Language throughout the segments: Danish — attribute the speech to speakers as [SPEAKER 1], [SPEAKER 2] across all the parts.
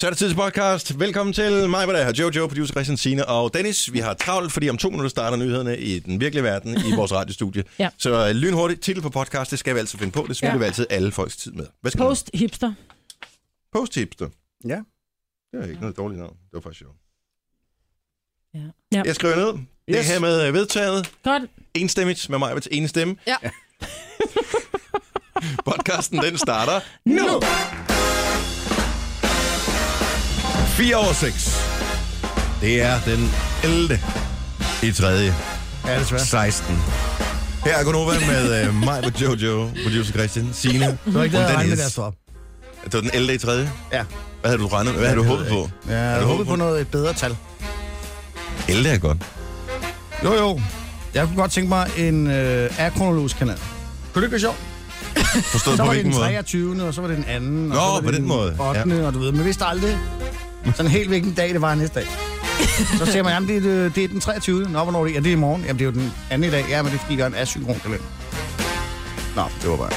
[SPEAKER 1] Så er det tid til podcast. Velkommen til mig, hvor der er Jojo, producer Christian Sine og Dennis. Vi har travlt, fordi om to minutter starter nyhederne i den virkelige verden i vores radiostudie.
[SPEAKER 2] Ja.
[SPEAKER 1] Så øh, lynhurtigt, titel på podcast, det skal vi altid finde på. Det spiller
[SPEAKER 2] Ja.
[SPEAKER 1] vi altid alle folks tid med. Hvad skal Post.
[SPEAKER 2] Post hipster.
[SPEAKER 1] Post hipster.
[SPEAKER 3] Ja.
[SPEAKER 1] Det er ikke noget dårligt navn. Det var faktisk sjovt.
[SPEAKER 2] Ja. ja.
[SPEAKER 1] Jeg skriver ned. Det
[SPEAKER 3] Yes.
[SPEAKER 1] her med vedtaget.
[SPEAKER 2] Godt.
[SPEAKER 1] Enstemmigt med mig, ved ene stemme.
[SPEAKER 4] Ja.
[SPEAKER 1] Podcasten, den starter
[SPEAKER 2] Nu!
[SPEAKER 1] 4 over 6. Det er den 11. i 3.
[SPEAKER 3] Ja, desværre.
[SPEAKER 1] 16. Her er Gunova med uh, mig på Jojo, producer Christian, Signe.
[SPEAKER 3] Det var ikke det,
[SPEAKER 1] Og
[SPEAKER 3] jeg regnede med,
[SPEAKER 1] Dennis.
[SPEAKER 3] da jeg stod op.
[SPEAKER 1] Det var den 11. i 3. Hvad
[SPEAKER 3] Ja.
[SPEAKER 1] havde du regnet? Hvad havde du
[SPEAKER 3] Jeg
[SPEAKER 1] håbet
[SPEAKER 3] ved
[SPEAKER 1] på?
[SPEAKER 3] ikke. Ja, jeg havde håbet på noget et bedre tal.
[SPEAKER 1] 11 er godt.
[SPEAKER 3] Jo, jo. Jeg kunne godt tænke mig en øh, akronologisk kanal. Kunne det ikke være sjovt?
[SPEAKER 1] Forstået
[SPEAKER 3] Så
[SPEAKER 1] på
[SPEAKER 3] var det
[SPEAKER 1] hvilken
[SPEAKER 3] den
[SPEAKER 1] måde?
[SPEAKER 3] 23. og så var det den 2. Nå,
[SPEAKER 1] Nå,
[SPEAKER 3] og så var
[SPEAKER 1] på
[SPEAKER 3] det
[SPEAKER 1] den
[SPEAKER 3] den
[SPEAKER 1] måde,
[SPEAKER 3] 8. Ja. og du ved, men vidste aldrig sådan helt hvilken dag det var næste dag. Så siger man, jamen det er, øh, det, det er den 23. Nå, hvornår er det? Ja, det er i morgen. Jamen det er jo den anden i dag. Ja, men det er fordi, jeg er en asynkron kalender. Nå, det var bare...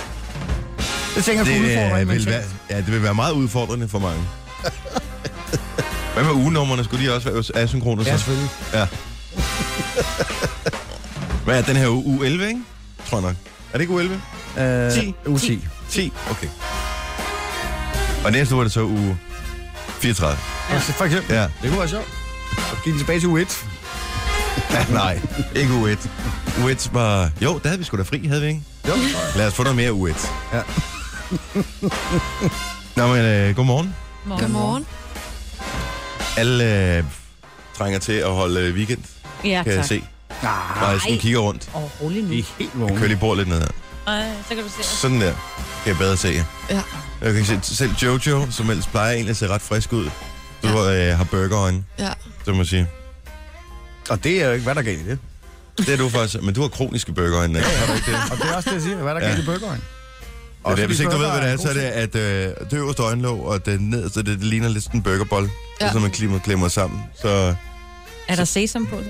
[SPEAKER 3] Det tænker
[SPEAKER 1] Det
[SPEAKER 3] jeg kunne udfordre
[SPEAKER 1] øh, vil
[SPEAKER 3] en mentalt.
[SPEAKER 1] være, ja, det vil være meget udfordrende for mange. Hvad med ugenummerne? Skulle de også være asynkrone?
[SPEAKER 3] Ja,
[SPEAKER 1] så?
[SPEAKER 3] selvfølgelig.
[SPEAKER 1] Ja. Hvad er den her uge? Uge 11, ikke? Tror jeg nok. Er det ikke uge 11?
[SPEAKER 3] Øh,
[SPEAKER 1] 10.
[SPEAKER 3] uge 10.
[SPEAKER 1] 10. Okay. Og næste uge er det så uge 34.
[SPEAKER 3] Altså, for eksempel.
[SPEAKER 1] Ja.
[SPEAKER 3] Det kunne være sjovt. Så gik den tilbage til uge 1.
[SPEAKER 1] Ah, Nej, ikke uge 1. Uge 1 var... Jo, der havde vi sgu da fri, havde vi ikke?
[SPEAKER 3] Jo.
[SPEAKER 1] Lad os få noget mere uge 1.
[SPEAKER 3] Ja.
[SPEAKER 1] Nå, men øh, godmorgen.
[SPEAKER 4] Godmorgen.
[SPEAKER 1] Alle øh, trænger til at holde øh, weekend,
[SPEAKER 2] Ja,
[SPEAKER 1] kan jeg
[SPEAKER 2] tak.
[SPEAKER 1] se.
[SPEAKER 3] Nej,
[SPEAKER 1] Når jeg sådan kigger rundt.
[SPEAKER 2] Og rolig nu.
[SPEAKER 3] de er helt vågne.
[SPEAKER 1] Kør lige bord lidt ned her.
[SPEAKER 2] Ej, så kan du se.
[SPEAKER 1] Sådan der. Kan jeg bedre se jer.
[SPEAKER 4] Ja.
[SPEAKER 1] Jeg kan se, selv Jojo, som ellers plejer egentlig at se ret frisk ud, du ja. øh, har burgerøjne,
[SPEAKER 4] Ja.
[SPEAKER 1] så må jeg sige.
[SPEAKER 3] Og det er jo ikke, hvad der galt i det.
[SPEAKER 1] Det er du faktisk, men du har kroniske burgerøjne. ikke? Har du ikke det?
[SPEAKER 3] Og det er også det, jeg siger. Hvad der
[SPEAKER 1] Ja.
[SPEAKER 3] galt i burgeren?
[SPEAKER 1] Og det,
[SPEAKER 3] Også
[SPEAKER 1] er, hvis
[SPEAKER 3] fordi
[SPEAKER 1] ikke du ved,
[SPEAKER 3] burger
[SPEAKER 1] hvad det er,
[SPEAKER 3] en
[SPEAKER 1] så er
[SPEAKER 3] god
[SPEAKER 1] det, at øh, det øverste øjenlåg og det nederste, det, det ligner lidt sådan en burgerbold. Ja. Det er
[SPEAKER 4] Ja.
[SPEAKER 1] sådan, man klemmer, klemmer sammen. Så
[SPEAKER 2] Er der sesam på så?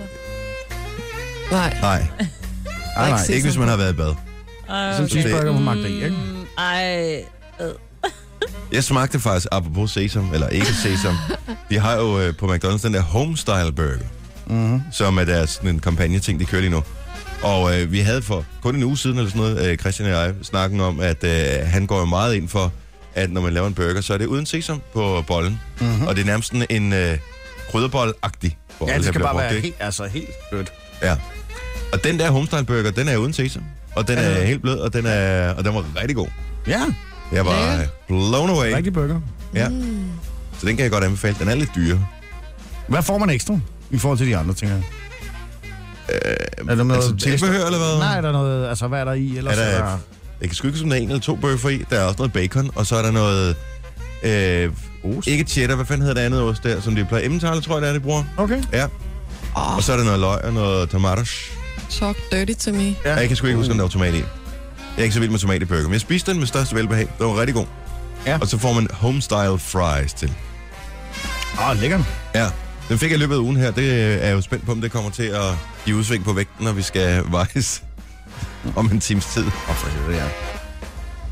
[SPEAKER 4] Nej.
[SPEAKER 1] nej,
[SPEAKER 3] Nej,
[SPEAKER 4] ikke
[SPEAKER 3] nej.
[SPEAKER 4] se-
[SPEAKER 1] ikke hvis man har været i bad.
[SPEAKER 2] Ej,
[SPEAKER 3] Som cheeseburger på magteri, ikke?
[SPEAKER 2] Mm, Ej,
[SPEAKER 1] Jeg smagte faktisk, apropos sesam, eller ikke sesam, de har jo øh, på McDonald's den der homestyle burger,
[SPEAKER 3] Mhm.
[SPEAKER 1] som er deres sådan en kampagneting, de kører lige nu. Og øh, vi havde for kun en uge siden, eller sådan noget, øh, Christian og jeg, snakken om, at øh, han går jo meget ind for, at når man laver en burger, så er det uden sesam på bollen. Mm-hmm. Og det er nærmest sådan en øh, krydderbold-agtig bolle,
[SPEAKER 3] Mhm. Ja, det
[SPEAKER 1] der
[SPEAKER 3] skal
[SPEAKER 1] bliver
[SPEAKER 3] bare
[SPEAKER 1] brugt,
[SPEAKER 3] være
[SPEAKER 1] ikke?
[SPEAKER 3] helt, altså helt blødt.
[SPEAKER 1] Ja. Og den der homestyle burger, den er uden sesam. Og den er
[SPEAKER 3] Ja.
[SPEAKER 1] helt blød, og den, er, og den var rigtig god.
[SPEAKER 3] Ja,
[SPEAKER 1] Jeg var
[SPEAKER 4] Lækker.
[SPEAKER 1] øh, blown away.
[SPEAKER 3] rigtig burger.
[SPEAKER 1] Ja. Så den kan jeg godt anbefale. Den er lidt dyre.
[SPEAKER 3] Hvad får man ekstra i forhold til de andre, tænker jeg? Øh, er der noget
[SPEAKER 1] altså tilbehør,
[SPEAKER 3] ekstra-
[SPEAKER 1] eller hvad?
[SPEAKER 3] Nej, er der noget, altså hvad er der i? Eller
[SPEAKER 1] Er
[SPEAKER 3] er
[SPEAKER 1] der-
[SPEAKER 3] der...
[SPEAKER 1] Jeg kan sgu ikke som der er en eller to bøffer i. Der er også noget bacon, og så er der noget... Øh,
[SPEAKER 3] Ost?
[SPEAKER 1] ikke cheddar, hvad fanden hedder det andet ost der, som de plejer? Emmentaler, tror jeg, det er, de bruger.
[SPEAKER 3] Okay.
[SPEAKER 1] Ja.
[SPEAKER 3] Ah.
[SPEAKER 4] Åh.
[SPEAKER 1] Og så er der noget løg og noget tomatos.
[SPEAKER 4] Talk dirty to me.
[SPEAKER 1] Ja. Jeg kan sgu ikke huske, om der var tomat i. Jeg er ikke så vild med tomat i burger, men jeg spiste den med største velbehag. Den var rigtig god.
[SPEAKER 3] Ja.
[SPEAKER 1] Og så får man homestyle fries til.
[SPEAKER 3] Åh, oh, lækker.
[SPEAKER 1] Ja, den fik jeg i løbet af ugen her. Det øh, er jeg jo spændt på, om det kommer til at give udsving på vægten, når vi skal vejes om en times tid.
[SPEAKER 3] Åh, oh, for helvede, ja. Det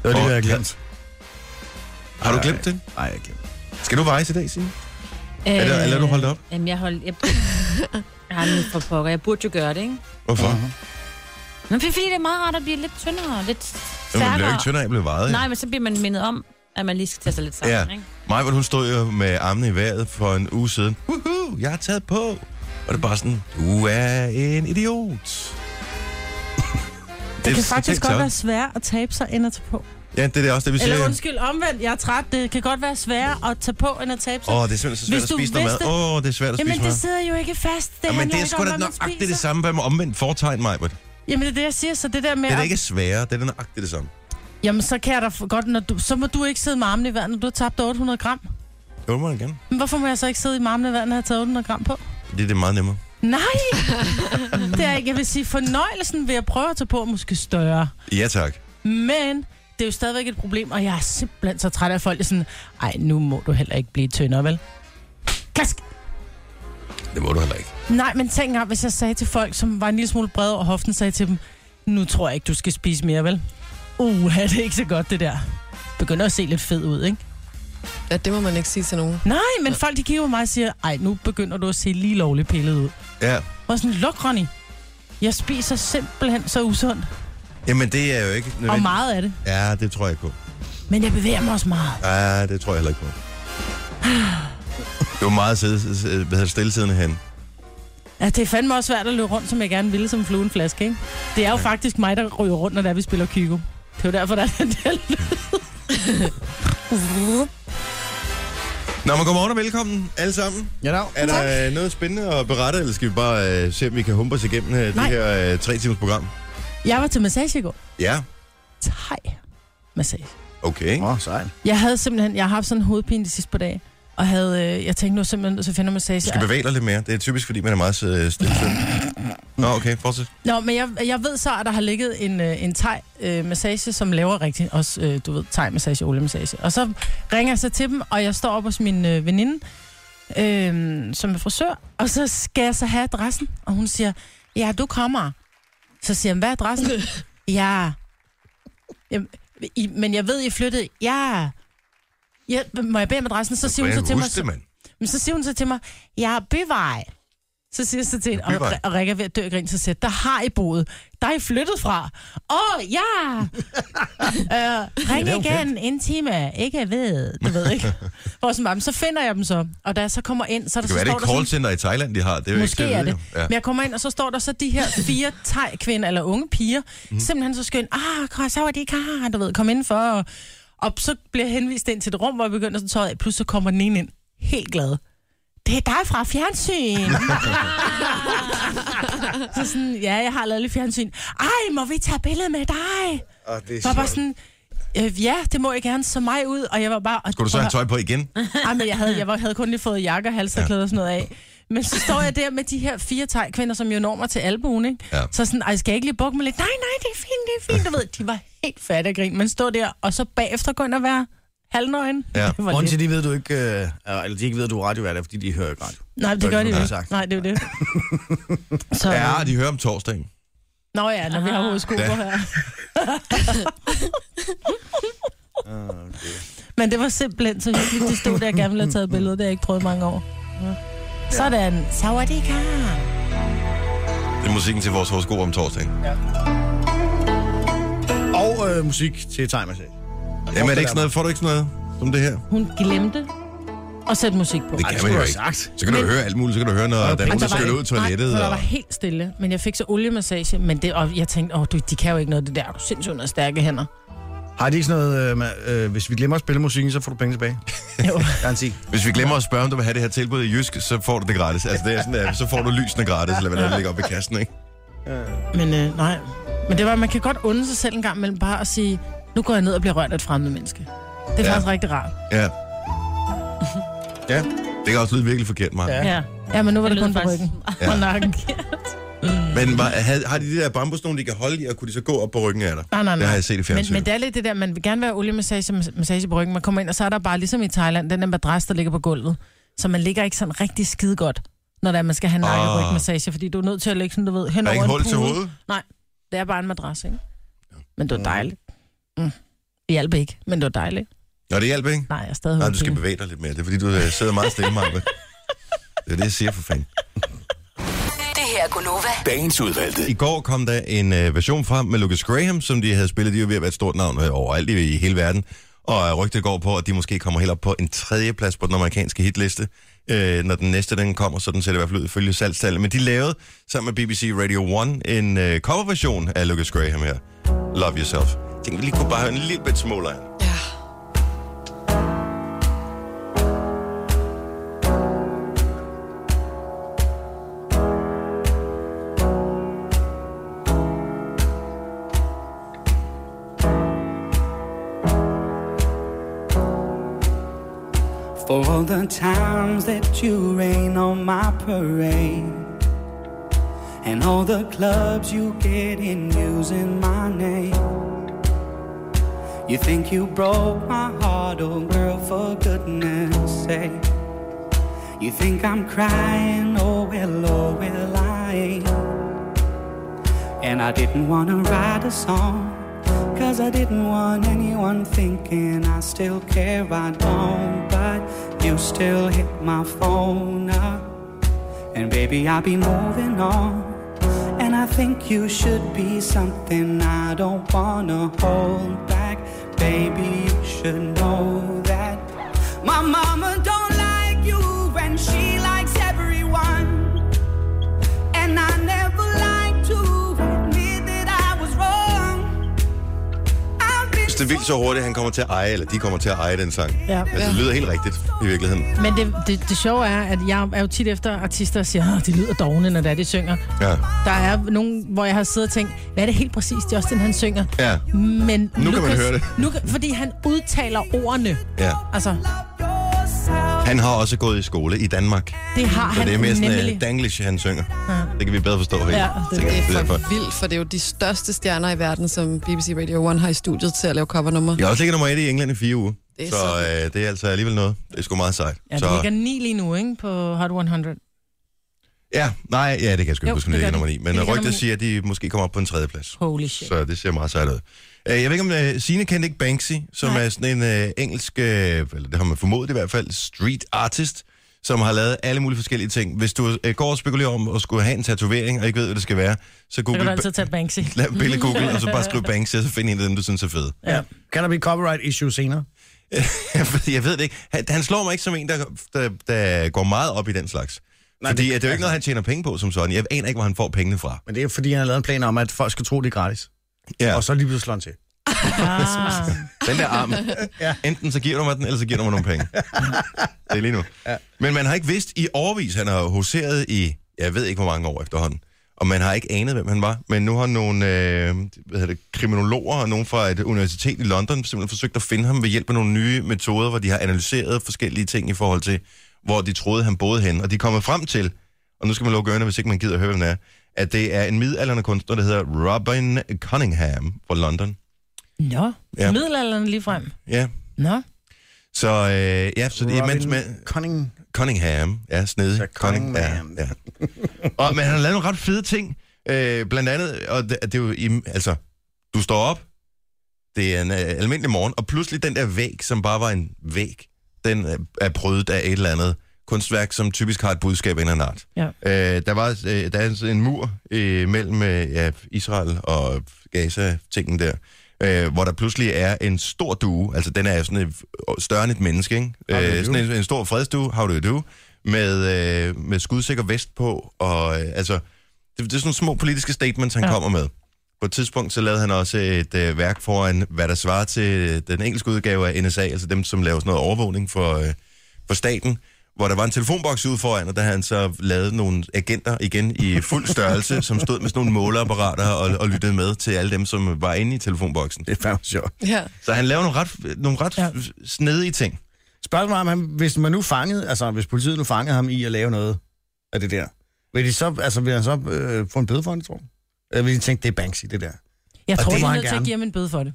[SPEAKER 3] var lige,
[SPEAKER 1] Åh,
[SPEAKER 3] hvad jeg glemte.
[SPEAKER 1] Har du glemt det?
[SPEAKER 3] Nej, jeg glemte.
[SPEAKER 1] Skal du vejes i dag, Signe?
[SPEAKER 2] øh,
[SPEAKER 1] Er det- eller er du holdt op?
[SPEAKER 2] Jamen, jeg holdt... Jeg, Jamen, for pokker, jeg burde jo gøre det, ikke?
[SPEAKER 1] Hvorfor? Uh-huh.
[SPEAKER 2] Men det er fordi, det er meget rart at blive lidt tyndere, lidt stærkere.
[SPEAKER 1] Jamen, jeg blev ikke tyndere, af, jeg blev vejet.
[SPEAKER 2] Nej, men så bliver man mindet om, at man lige skal tage sig lidt sammen,
[SPEAKER 1] Ja.
[SPEAKER 2] ikke?
[SPEAKER 1] Mig, hvor hun stod jo med armene i vejret for en uge siden. Woohoo, jeg har taget på. Og det er bare sådan, du er en idiot. Det,
[SPEAKER 5] Det kan
[SPEAKER 1] er
[SPEAKER 5] faktisk godt
[SPEAKER 1] sådan.
[SPEAKER 5] være sværere at tabe sig, end at tage på.
[SPEAKER 1] Ja, det er det også det, vi
[SPEAKER 5] Eller
[SPEAKER 1] siger.
[SPEAKER 5] undskyld, omvendt, jeg er træt. Det kan godt være sværere at tage på, end at tabe sig.
[SPEAKER 1] Åh, oh, det er simpelthen så svært
[SPEAKER 5] Hvis
[SPEAKER 1] at
[SPEAKER 5] du
[SPEAKER 1] spise noget mad.
[SPEAKER 5] vidste-
[SPEAKER 1] Åh, oh, det er svært at
[SPEAKER 5] Jamen,
[SPEAKER 1] spise
[SPEAKER 5] det
[SPEAKER 1] mad.
[SPEAKER 5] sidder jo ikke fast. Det
[SPEAKER 1] Jamen,
[SPEAKER 5] handler
[SPEAKER 1] det er
[SPEAKER 5] ikke
[SPEAKER 1] sgu
[SPEAKER 5] om,
[SPEAKER 1] da
[SPEAKER 5] hvad man
[SPEAKER 1] nøjagtigt
[SPEAKER 5] spiser.
[SPEAKER 1] det samme, hvad med omvendt foretegn, mig. Det
[SPEAKER 5] Jamen, det er det, jeg siger. Så det der med...
[SPEAKER 1] er da
[SPEAKER 5] at-
[SPEAKER 1] ikke sværere, det er da nøjagtigt det samme.
[SPEAKER 5] Jamen, så kan jeg da f- godt... Når du... Så må du ikke sidde med armene i vand, når du har tabt 800 gram.
[SPEAKER 1] Jo, man gerne.
[SPEAKER 5] Men hvorfor må jeg så ikke sidde i med armene i vand, når jeg har taget 800 gram på?
[SPEAKER 1] Det er det meget nemmere.
[SPEAKER 5] Nej! det er ikke... Jeg vil sige, fornøjelsen ved at prøve at tage på er måske større.
[SPEAKER 1] Ja, tak.
[SPEAKER 5] Men det er jo stadigvæk et problem, og jeg er simpelthen så træt af at folk. er sådan, ej, nu må du heller ikke blive tyndere, vel? Klask!
[SPEAKER 1] Det må du heller ikke.
[SPEAKER 5] Nej, men tænk engang, hvis jeg sagde til folk, som var en lille smule brede over hoften, sagde jeg til dem, nu tror jeg ikke, du skal spise mere, vel? Uh, er det ikke så godt, det der? Begynder at se lidt fed ud, ikke?
[SPEAKER 4] at det må man ikke sige til nogen.
[SPEAKER 5] Nej, men folk de kigger på mig og siger, ej, nu begynder du at se lige lovligt pillet ud.
[SPEAKER 1] Ja.
[SPEAKER 5] Og sådan, luk, Ronny. Jeg spiser simpelthen så usundt,
[SPEAKER 1] Jamen, det er jo ikke nødvendigt.
[SPEAKER 5] og meget af det.
[SPEAKER 1] Ja, det tror jeg ikke på.
[SPEAKER 5] Men jeg bevæger mig også meget.
[SPEAKER 1] Ja, det tror jeg heller ikke på. Det var meget sidde, sidde- hvad hedder det, stillesiddende hen.
[SPEAKER 5] Altså, det er fandme også svært at løbe rundt, som jeg gerne ville, som fluen flaske, ikke? Det er jo faktisk mig, der ryger rundt, når der vi spiller Kygo. Det er jo derfor, der er den der lyd.
[SPEAKER 1] Nå, men godmorgen og velkommen alle sammen.
[SPEAKER 3] Ja, da.
[SPEAKER 1] Er der øh, noget spændende at berette, eller skal vi bare øh, se, om vi kan humpe os igennem øh, det
[SPEAKER 5] Nej.
[SPEAKER 1] her øh, tre timers program?
[SPEAKER 5] Jeg var til massage i går.
[SPEAKER 1] Ja,
[SPEAKER 5] Thai massage.
[SPEAKER 1] okay.
[SPEAKER 3] Åh, sejt.
[SPEAKER 5] Jeg havde simpelthen, jeg har haft sådan en hovedpine de sidste par dage, og havde, øh, jeg tænkte nu er jeg simpelthen, så finder massage.
[SPEAKER 1] Du skal bevæge dig lidt mere. Det er typisk, fordi man er meget øh, stillesiddende. Nå, okay, fortsæt.
[SPEAKER 5] Nå, men jeg, jeg ved så, at der har ligget en, øh, en thai-massage, som laver rigtig også, øh, du ved, thai-massage, oliemassage. Og så ringer jeg så til dem, og jeg står op hos min øh, veninde, øh, som er frisør, og så skal jeg så have adressen, og hun siger, ja, du kommer. Så siger jeg, hvad er adressen? ja. Jamen, I, men jeg ved, I flyttede. Ja. ja. Må jeg bede om adressen? Så siger hun så
[SPEAKER 1] Hvordan
[SPEAKER 5] til mig,
[SPEAKER 1] husk det, mand?
[SPEAKER 5] men så siger hun så til mig, jeg er byvej. Så siger jeg så til hende,
[SPEAKER 1] Ja, byvej.
[SPEAKER 5] og, og Rikke er ved at dø af grin, så siger jeg, der har I boet. Der er I flyttet fra. Åh, oh, ja! øh, ring
[SPEAKER 1] det er
[SPEAKER 5] ja,
[SPEAKER 1] jo
[SPEAKER 5] igen, en time. Ikke ved, du ved ikke. Og sådan, "Jamen, så finder jeg dem så. Og da jeg så kommer ind, så er der
[SPEAKER 1] Det
[SPEAKER 5] så
[SPEAKER 1] kan være, det er
[SPEAKER 5] står
[SPEAKER 1] et
[SPEAKER 5] der sådan,
[SPEAKER 1] callcenter i Thailand, de har. Det er jo
[SPEAKER 5] Måske
[SPEAKER 1] ikke,
[SPEAKER 5] er
[SPEAKER 1] jeg ved
[SPEAKER 5] det.
[SPEAKER 1] jo. Ja.
[SPEAKER 5] Men jeg kommer ind, og så står der så de her fire thai-kvinder, eller unge piger,
[SPEAKER 1] Mhm.
[SPEAKER 5] mm. simpelthen så skøn, ah, kom, så var det ikke her, du ved, kom indenfor. Og, og så bliver jeg henvist ind til et rum, hvor jeg begynder at tage tøjet af, plus så kommer den ene ind, helt glad. Det er dig fra fjernsyn. så sådan, ja, jeg har lavet lidt fjernsyn. Ej, må vi tage billede med dig?
[SPEAKER 3] Åh, det
[SPEAKER 5] Så var bare sådan, øh, ja, det må jeg gerne, så mig ud. Og jeg var bare...
[SPEAKER 1] Skulle du så have tøj på igen?
[SPEAKER 5] Ej, men jeg havde, jeg var- havde kun lige fået jakke og halserklæde og sådan noget af. Men så står jeg der med de her fire tegkvinder, som jo når mig til albuen, ikke?
[SPEAKER 1] Ja.
[SPEAKER 5] Så sådan, ej, skal jeg ikke lige bukke mig lidt? Nej, nej, det er fint, det er fint. Du ved, de var helt fat af grin, men stod der, og så bagefter gå ind og være halvnøgen.
[SPEAKER 1] Ja.
[SPEAKER 5] Det var
[SPEAKER 3] Grunden til,
[SPEAKER 5] lidt.
[SPEAKER 3] de ved, du ikke, øh, eller de ikke ved, du er radiovært, er, fordi de hører ikke radio.
[SPEAKER 5] Nej, det gør de
[SPEAKER 3] Ja.
[SPEAKER 5] jo ikke.
[SPEAKER 3] Sagt.
[SPEAKER 5] Nej, det er jo det. Så,
[SPEAKER 1] Ja, de hører om torsdagen.
[SPEAKER 5] Nå ja, når vi har hovedskoler
[SPEAKER 1] Ja.
[SPEAKER 5] her.
[SPEAKER 1] Ah,
[SPEAKER 5] Men det var simpelthen så hyggeligt, det stod der, jeg gerne ville have taget billeder. Det har jeg ikke prøvet i mange år. Ja. Sådan. Sawadika.
[SPEAKER 1] Det er musikken til vores horoskop om torsdagen.
[SPEAKER 3] Og øh, musik til time Attack.
[SPEAKER 1] Jamen, er det ikke sådan noget, får du ikke sådan noget som det her?
[SPEAKER 5] Hun glemte at sætte musik på.
[SPEAKER 1] Det
[SPEAKER 3] Ej,
[SPEAKER 1] kan
[SPEAKER 3] det
[SPEAKER 1] man
[SPEAKER 3] skulle
[SPEAKER 1] jo
[SPEAKER 3] du
[SPEAKER 1] ikke.
[SPEAKER 3] have sagt.
[SPEAKER 1] Så kan du høre alt muligt. Så kan du høre, når der er nogen, der
[SPEAKER 5] var-
[SPEAKER 1] skyller ud i toilettet.
[SPEAKER 5] Nej, der
[SPEAKER 1] og...
[SPEAKER 5] var helt stille, men jeg fik så oliemassage, men det, og jeg tænkte, åh, du, de kan jo ikke noget af det der, du er sindssygt under stærke hænder.
[SPEAKER 3] Har de ikke sådan noget, øh, med, øh, hvis vi glemmer at spille musikken, så får du penge tilbage?
[SPEAKER 5] Jo.
[SPEAKER 3] Garanti.
[SPEAKER 1] Hvis vi glemmer at spørge, om du vil have det her tilbud i Jysk, så får du det gratis. Altså, det er sådan, at, så får du lysene gratis, eller hvad der ligger op i kassen, ikke?
[SPEAKER 5] Men øh, nej, men det var, man kan godt unde sig selv en gang mellem bare at sige, nu går jeg ned og bliver rørt af et fremmed menneske. Det
[SPEAKER 1] Ja.
[SPEAKER 5] er ja. faktisk rigtig rart.
[SPEAKER 1] Ja. Ja, det kan også lyde virkelig forkert, mig. Ja.
[SPEAKER 3] Ja.
[SPEAKER 2] Ja.
[SPEAKER 5] Ja, men nu var
[SPEAKER 2] Det
[SPEAKER 5] det, det kun
[SPEAKER 2] lyder
[SPEAKER 5] på
[SPEAKER 2] faktisk
[SPEAKER 5] ryggen
[SPEAKER 1] Ja.
[SPEAKER 5] ja. og nakken.
[SPEAKER 1] Men var, havde, har de de der bambusnogen, de kan holde i, og kunne de så gå op på ryggen af dig?
[SPEAKER 5] Nej, nej, nej.
[SPEAKER 1] Det har jeg set i
[SPEAKER 5] Men,
[SPEAKER 1] fjernsynet.
[SPEAKER 5] men det er lidt det der, man vil gerne være oliemassage massage på ryggen. Man kommer ind, og så er der bare, ligesom i Thailand, den der madras, der ligger på gulvet. Så man ligger ikke sådan rigtig skide godt, når det er, man skal have nakke-
[SPEAKER 1] Ah.
[SPEAKER 5] og rygmassage, fordi du er nødt til at ligge sådan, du ved, hen
[SPEAKER 1] Der er
[SPEAKER 5] over
[SPEAKER 1] ikke
[SPEAKER 5] en
[SPEAKER 1] hul til
[SPEAKER 5] pude.
[SPEAKER 1] hovedet?
[SPEAKER 5] Nej, det er bare en madras, ikke? Men det var dejligt. Mm. Det hjalp ikke, men det var dejligt.
[SPEAKER 1] Nå, det hjælper ikke?
[SPEAKER 5] Nej, jeg er stadig
[SPEAKER 1] Nej, du
[SPEAKER 5] hovedpine.
[SPEAKER 1] skal bevæge dig lidt mere. Det er, fordi du øh, sidder meget stille, Maja. Det er det, jeg siger for fanden.
[SPEAKER 6] Det her er Gunova.
[SPEAKER 7] Dagens udvalgte.
[SPEAKER 1] I går kom der en øh, version frem med Lucas Graham, som de havde spillet. De er jo ved at være et stort navn øh, overalt i, i hele verden. Og øh, rygtet går på, at de måske kommer helt op på en tredjeplads på den amerikanske hitliste. Øh, når den næste den kommer, sådan ser det i hvert fald ud ifølge salgstallet. Men de lavede sammen med BBC Radio 1 en øh, coverversion af Lucas Graham her. Love Yourself. Jeg tænkte, vi lige kunne bare høre en lille bit smule af den.
[SPEAKER 4] Ja.
[SPEAKER 8] For all the times that you rain on my parade And all the clubs you get in using my name You think you broke my heart, oh girl, for goodness sake You think I'm crying, oh well, oh well, I ain't And I didn't wanna write a song Cause I didn't want anyone thinking I still care, I don't. But you still hit my phone up. And baby, I'll be moving on. And I think you should be something I don't wanna hold back. Baby, you should know that. My mama don't like you, and she likes everyone. And I never liked to admit that I was wrong. I've been
[SPEAKER 1] Hvis det vildt så hurtigt, han kommer til at eje, eller de kommer til at eje den sang.
[SPEAKER 5] Ja.
[SPEAKER 1] Altså, det lyder helt rigtigt i virkeligheden.
[SPEAKER 5] Men det, det, det sjove er, at jeg er jo tit efter artister og siger, at det lyder dogne, når det er, de synger.
[SPEAKER 1] Ja.
[SPEAKER 5] Der er nogen, hvor jeg har siddet og tænkt, hvad er det helt præcist, Justin han synger?
[SPEAKER 1] Ja.
[SPEAKER 5] Men nu
[SPEAKER 1] man
[SPEAKER 5] Lukas,
[SPEAKER 1] høre det.
[SPEAKER 5] Nu, kan- fordi han udtaler ordene.
[SPEAKER 1] Ja.
[SPEAKER 5] Altså,
[SPEAKER 1] Han har også gået i skole i Danmark.
[SPEAKER 5] det har
[SPEAKER 1] Så
[SPEAKER 5] han
[SPEAKER 1] det er mere sådan uh,
[SPEAKER 5] nemlig.
[SPEAKER 1] Danglish, han synger. Ja. Det kan vi bedre forstå. helt.
[SPEAKER 5] Ja, det-
[SPEAKER 1] Tænker
[SPEAKER 4] Det
[SPEAKER 1] jeg,
[SPEAKER 4] er
[SPEAKER 1] derfor.
[SPEAKER 4] for vildt, for det er jo de største stjerner i verden, som BBC Radio 1 har i studiet til at lave covernummer.
[SPEAKER 1] Jeg har også ligget nummer et i England i fire uger.
[SPEAKER 4] Det er
[SPEAKER 1] så
[SPEAKER 4] så
[SPEAKER 1] øh, det er altså alligevel noget. Det er sgu meget sejt.
[SPEAKER 5] Ja,
[SPEAKER 1] så,
[SPEAKER 5] det ligger ni lige nu, ikke? På Hot 100.
[SPEAKER 1] ja, nej, ja, det kan jeg sgu ikke
[SPEAKER 5] Jo,
[SPEAKER 1] huske,
[SPEAKER 5] det
[SPEAKER 1] det ligger
[SPEAKER 5] gør
[SPEAKER 1] nummer
[SPEAKER 5] det.
[SPEAKER 1] 9.
[SPEAKER 5] Det
[SPEAKER 1] Men
[SPEAKER 5] ligger nummer
[SPEAKER 1] rygtet
[SPEAKER 5] ni.
[SPEAKER 1] siger, at de måske kommer op på en tredje plads.
[SPEAKER 5] Holy shit.
[SPEAKER 1] Så det ser meget sejt ud. Øh, Jeg ved ikke, om øh, Signe kendte ikke Banksy, som Nej. er sådan en øh, engelsk, øh, eller det har man formodet i hvert fald, street artist, som har lavet alle mulige forskellige ting. Hvis du øh, går og spekulerer om at skulle have en tatovering, og ikke ved, hvad det skal være, så
[SPEAKER 5] Så
[SPEAKER 1] google,
[SPEAKER 5] kan du altid tage Banksy.
[SPEAKER 1] lad billede google, og så bare skriv Banksy, og så find en af dem, du synes er fed.
[SPEAKER 3] Ja. Kan der blive copyright issue senere?
[SPEAKER 1] Fordi jeg ved det ikke. Han, han slår mig ikke som en, der, der, der går meget op i den slags. Nej,
[SPEAKER 3] Nej,
[SPEAKER 1] Fordi
[SPEAKER 3] det-
[SPEAKER 1] det, at det er jo ikke noget, han tjener penge på som sådan. Jeg aner ikke, hvor han får pengene fra.
[SPEAKER 3] Men det er fordi, han har lavet en plan om, at folk skal tro, det er gratis.
[SPEAKER 1] Ja.
[SPEAKER 3] Ja. Og så lige pludselig slår han til.
[SPEAKER 5] Ah.
[SPEAKER 1] Den der arm. ja. Enten så giver du mig den, eller så giver du mig nogle penge. det er lige nu. Ja. Men man har ikke vidst i overvis, han har hoseret i, jeg ved ikke hvor mange år efterhånden. Og man har ikke anet, hvem han var. Men nu har nogle øh, hvad hedder det, kriminologer og nogen fra et universitet i London simpelthen forsøgt at finde ham ved hjælp af nogle nye metoder, hvor de har analyseret forskellige ting i forhold til, hvor de troede, han boede hen. Og de er kommet frem til, og nu skal man lukke ørerne, hvis ikke man gider høre, hvem han er, at det er en midalderne kunstner, der hedder Robin Cunningham fra London.
[SPEAKER 5] Nå,
[SPEAKER 1] Ja.
[SPEAKER 5] ja. middelalderen lige frem.
[SPEAKER 1] Ja,
[SPEAKER 5] Nå,
[SPEAKER 1] Så øh, ja, så det er mens
[SPEAKER 3] Robin
[SPEAKER 1] med
[SPEAKER 3] Cunning.
[SPEAKER 1] Cunningham, ja, snedig.
[SPEAKER 3] Så Cunningham.
[SPEAKER 1] Ja, ja. Og, men han har lavet nogle ret fede ting, øh, blandt andet, og det, det er jo, im- altså, du står op, det er en øh, almindelig morgen, og pludselig den der væg, som bare var en væg, den øh, er prøvet af et eller andet kunstværk, som typisk har et budskab af en eller anden art.
[SPEAKER 5] Ja.
[SPEAKER 1] Øh, der, var, øh, der er sådan en mur øh, mellem øh, ja, Israel og Gaza-tingen der, øh, hvor der pludselig er en stor due, altså den er sådan en, større end et menneske, ikke?
[SPEAKER 3] How do you
[SPEAKER 1] Øh, sådan en, en stor fredsdue, how do you do, med, øh, med skudsikker vest på, og øh, altså, det, det er sådan nogle små politiske statements, han ja.
[SPEAKER 5] Ja.
[SPEAKER 1] kommer med. På et tidspunkt så lavede han også et øh, værk foran, hvad der svarer til øh, den engelske udgave af NSA, altså dem, som laver sådan noget overvågning for, øh, for staten, hvor der var en telefonboks ude foran, og der havde han så lavet nogle agenter igen i fuld størrelse, som stod med sådan nogle måleapparater og, og lyttede med til alle dem, som var inde i telefonboksen.
[SPEAKER 3] Det er fandme sjovt.
[SPEAKER 4] Ja.
[SPEAKER 1] Så han lavede nogle ret, nogle ret ja.
[SPEAKER 5] Ja.
[SPEAKER 1] snedige ting.
[SPEAKER 3] Spørgsmålet er, om han, hvis man nu fangede, altså hvis politiet nu fangede ham i at lave noget af det der, vil, de så, altså, vil han så øh, få en bøde for det, tror du? Eller vil de tænke, det er Banksy, det der?
[SPEAKER 5] jeg
[SPEAKER 1] Og
[SPEAKER 5] tror,
[SPEAKER 1] det
[SPEAKER 5] det
[SPEAKER 1] må
[SPEAKER 5] er
[SPEAKER 3] han
[SPEAKER 5] nødt til at
[SPEAKER 3] gerne.
[SPEAKER 5] give ham en bøde for det.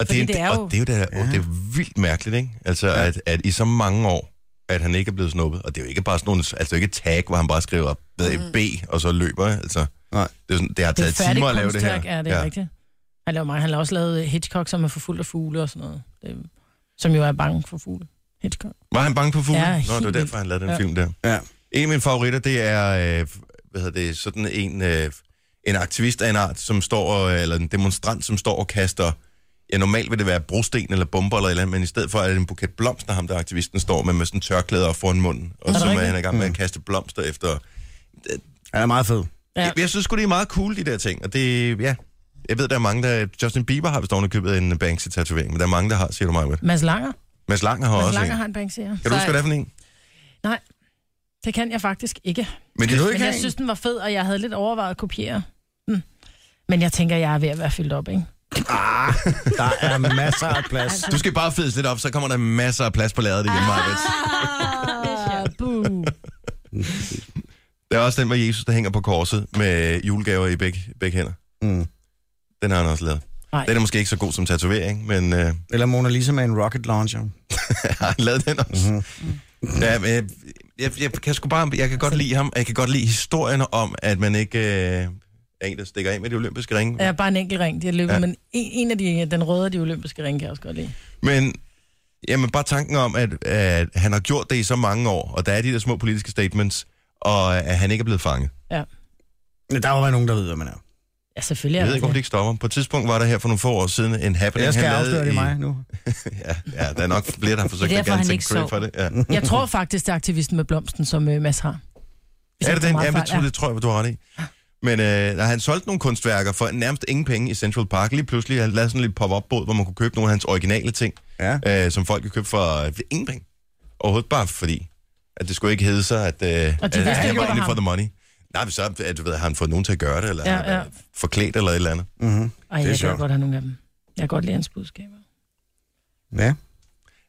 [SPEAKER 1] Og
[SPEAKER 5] Fordi
[SPEAKER 1] det,
[SPEAKER 5] det
[SPEAKER 1] det,
[SPEAKER 5] er
[SPEAKER 1] er
[SPEAKER 5] jo-
[SPEAKER 1] og det er jo det, der, ja. det er vildt mærkeligt, ikke? Altså, ja. at, at i så mange år, at han ikke er blevet snuppet. Og det er jo ikke bare sådan nogle, altså det er jo ikke et tag, hvor han bare skriver ved mm. B, og så løber, ikke? altså.
[SPEAKER 3] Nej.
[SPEAKER 1] Det, er sådan, det har
[SPEAKER 5] Det er
[SPEAKER 1] taget
[SPEAKER 5] færdigt
[SPEAKER 1] timer at lave det her.
[SPEAKER 5] kunstværk, er det ja. rigtigt. Han laver mange. Han har også lavet øh, Hitchcock, som er for fuld af fugle og sådan noget. Det, som jo er bange for fugle. Hitchcock.
[SPEAKER 1] Var han bange for fugle?
[SPEAKER 5] Ja,
[SPEAKER 1] Nå, det
[SPEAKER 5] helt
[SPEAKER 1] var derfor,
[SPEAKER 5] vildt.
[SPEAKER 1] han lavede den ja.
[SPEAKER 5] Ja.
[SPEAKER 1] film der.
[SPEAKER 3] Ja.
[SPEAKER 1] En af mine favoritter, det er, øh, hvad hedder det, sådan en, øh, en aktivist af en art, som står, og, eller en demonstrant, som står og kaster, ja normalt vil det være brosten eller bomber eller et eller andet, men i stedet for er det en buket blomster, ham der aktivisten står med, med sådan tørklæder op foran munden, og
[SPEAKER 5] Er det
[SPEAKER 1] som er
[SPEAKER 5] rigtigt? Mm.
[SPEAKER 1] han er i gang med at kaste blomster efter.
[SPEAKER 3] Han er meget fed.
[SPEAKER 5] Ja.
[SPEAKER 1] Ja. Jeg synes sgu, det er meget cool, de der ting, og det, ja, jeg ved, der er mange, der... Justin Bieber har vist købet en Banksy-tatovering, men der er mange, der har, siger du mig, med.
[SPEAKER 5] Mads Langer.
[SPEAKER 1] Mads Langer har
[SPEAKER 5] Mads
[SPEAKER 1] også
[SPEAKER 5] Langer
[SPEAKER 1] en.
[SPEAKER 5] har en Banksy, ja.
[SPEAKER 1] Kan du huske, hvad det er for en?
[SPEAKER 5] Nej, det kan jeg faktisk ikke.
[SPEAKER 1] Men det,
[SPEAKER 5] Men jeg synes, den var fed, og jeg havde lidt overvejet at kopiere. Mm. Men jeg tænker, jeg er ved at være fyldt op, ikke?
[SPEAKER 3] Ah, der er masser af plads.
[SPEAKER 1] Du skal bare fedse lidt op, så kommer der masser af plads på lageret igen, Marvitt.
[SPEAKER 5] Ah, buh.
[SPEAKER 1] Der er også den med Jesus, der hænger på korset med julegaver i begge, begge hænder.
[SPEAKER 3] Mm.
[SPEAKER 1] Den har han også lavet.
[SPEAKER 5] Nej.
[SPEAKER 1] Den er måske ikke så god som tatovering, men øh,
[SPEAKER 3] Eller Mona Lisa med en rocket launcher.
[SPEAKER 1] har han lavet den også?
[SPEAKER 3] Mhm.
[SPEAKER 1] Mm-hmm. Ja, men jeg, jeg, jeg, kan sgu bare, jeg kan godt lide ham, og jeg kan godt lide historien om, at man ikke... Øh, Der er en, der stikker af med de olympiske ringe.
[SPEAKER 5] Ja, bare en enkelt ring, de har løbet,
[SPEAKER 1] Ja.
[SPEAKER 5] ja. men en, en af de, den røde af de olympiske ringe, kan jeg også godt lide.
[SPEAKER 1] Men jamen, bare tanken om, at, at han har gjort det i så mange år, og der er de der små politiske statements, og at han ikke er blevet fanget.
[SPEAKER 5] Ja,
[SPEAKER 3] Men Der må være nogen, der ved, hvad man er.
[SPEAKER 5] ja selvfølgelig
[SPEAKER 1] Jeg
[SPEAKER 5] er
[SPEAKER 1] ved
[SPEAKER 5] det
[SPEAKER 1] ikke, om det
[SPEAKER 5] det.
[SPEAKER 1] ikke stopper. På et tidspunkt var der her for nogle få år siden en happening,
[SPEAKER 3] Jeg skal
[SPEAKER 1] han
[SPEAKER 3] afsløre det
[SPEAKER 1] i...
[SPEAKER 3] er mig nu.
[SPEAKER 1] ja, ja, der er nok flere, der har forsøgt
[SPEAKER 2] Det er
[SPEAKER 1] at
[SPEAKER 2] derfor,
[SPEAKER 1] gerne
[SPEAKER 2] han
[SPEAKER 1] tænke
[SPEAKER 2] ikke
[SPEAKER 1] credit
[SPEAKER 2] sov.
[SPEAKER 1] for det. Ja.
[SPEAKER 5] Jeg tror faktisk, det er aktivisten med blomsten, som øh, Mads har. Hvis
[SPEAKER 1] Er
[SPEAKER 5] jeg
[SPEAKER 1] det
[SPEAKER 5] ikke
[SPEAKER 1] den?
[SPEAKER 5] tager
[SPEAKER 1] Jamen,
[SPEAKER 5] meget
[SPEAKER 1] det, tror,
[SPEAKER 5] fejl.
[SPEAKER 1] det tror jeg, du har ret i. Men øh, nej, han solgte nogle kunstværker for nærmest ingen penge i Central Park. Lige pludselig han lavede sådan lidt pop-up båd, hvor man kunne købe nogle af hans originale ting,
[SPEAKER 3] Ja.
[SPEAKER 1] øh, som folk kan købe for øh, ingen penge. Overhovedet bare fordi, at det skulle ikke hedde sig, at, øh, at
[SPEAKER 5] vidste
[SPEAKER 1] han
[SPEAKER 5] ikke,
[SPEAKER 1] var
[SPEAKER 5] det var
[SPEAKER 1] inde for
[SPEAKER 5] ham.
[SPEAKER 1] the money. Nej, men så at, du ved, har han fået nogen til at gøre det, eller
[SPEAKER 5] Ja,
[SPEAKER 1] ja, ja.
[SPEAKER 5] ja.
[SPEAKER 1] forklædt eller et eller andet.
[SPEAKER 3] Mm-hmm.
[SPEAKER 5] Ej, jeg kan
[SPEAKER 3] sjovt.
[SPEAKER 5] godt have nogle af dem. Jeg kan godt lide hans budskaber.
[SPEAKER 3] Ja.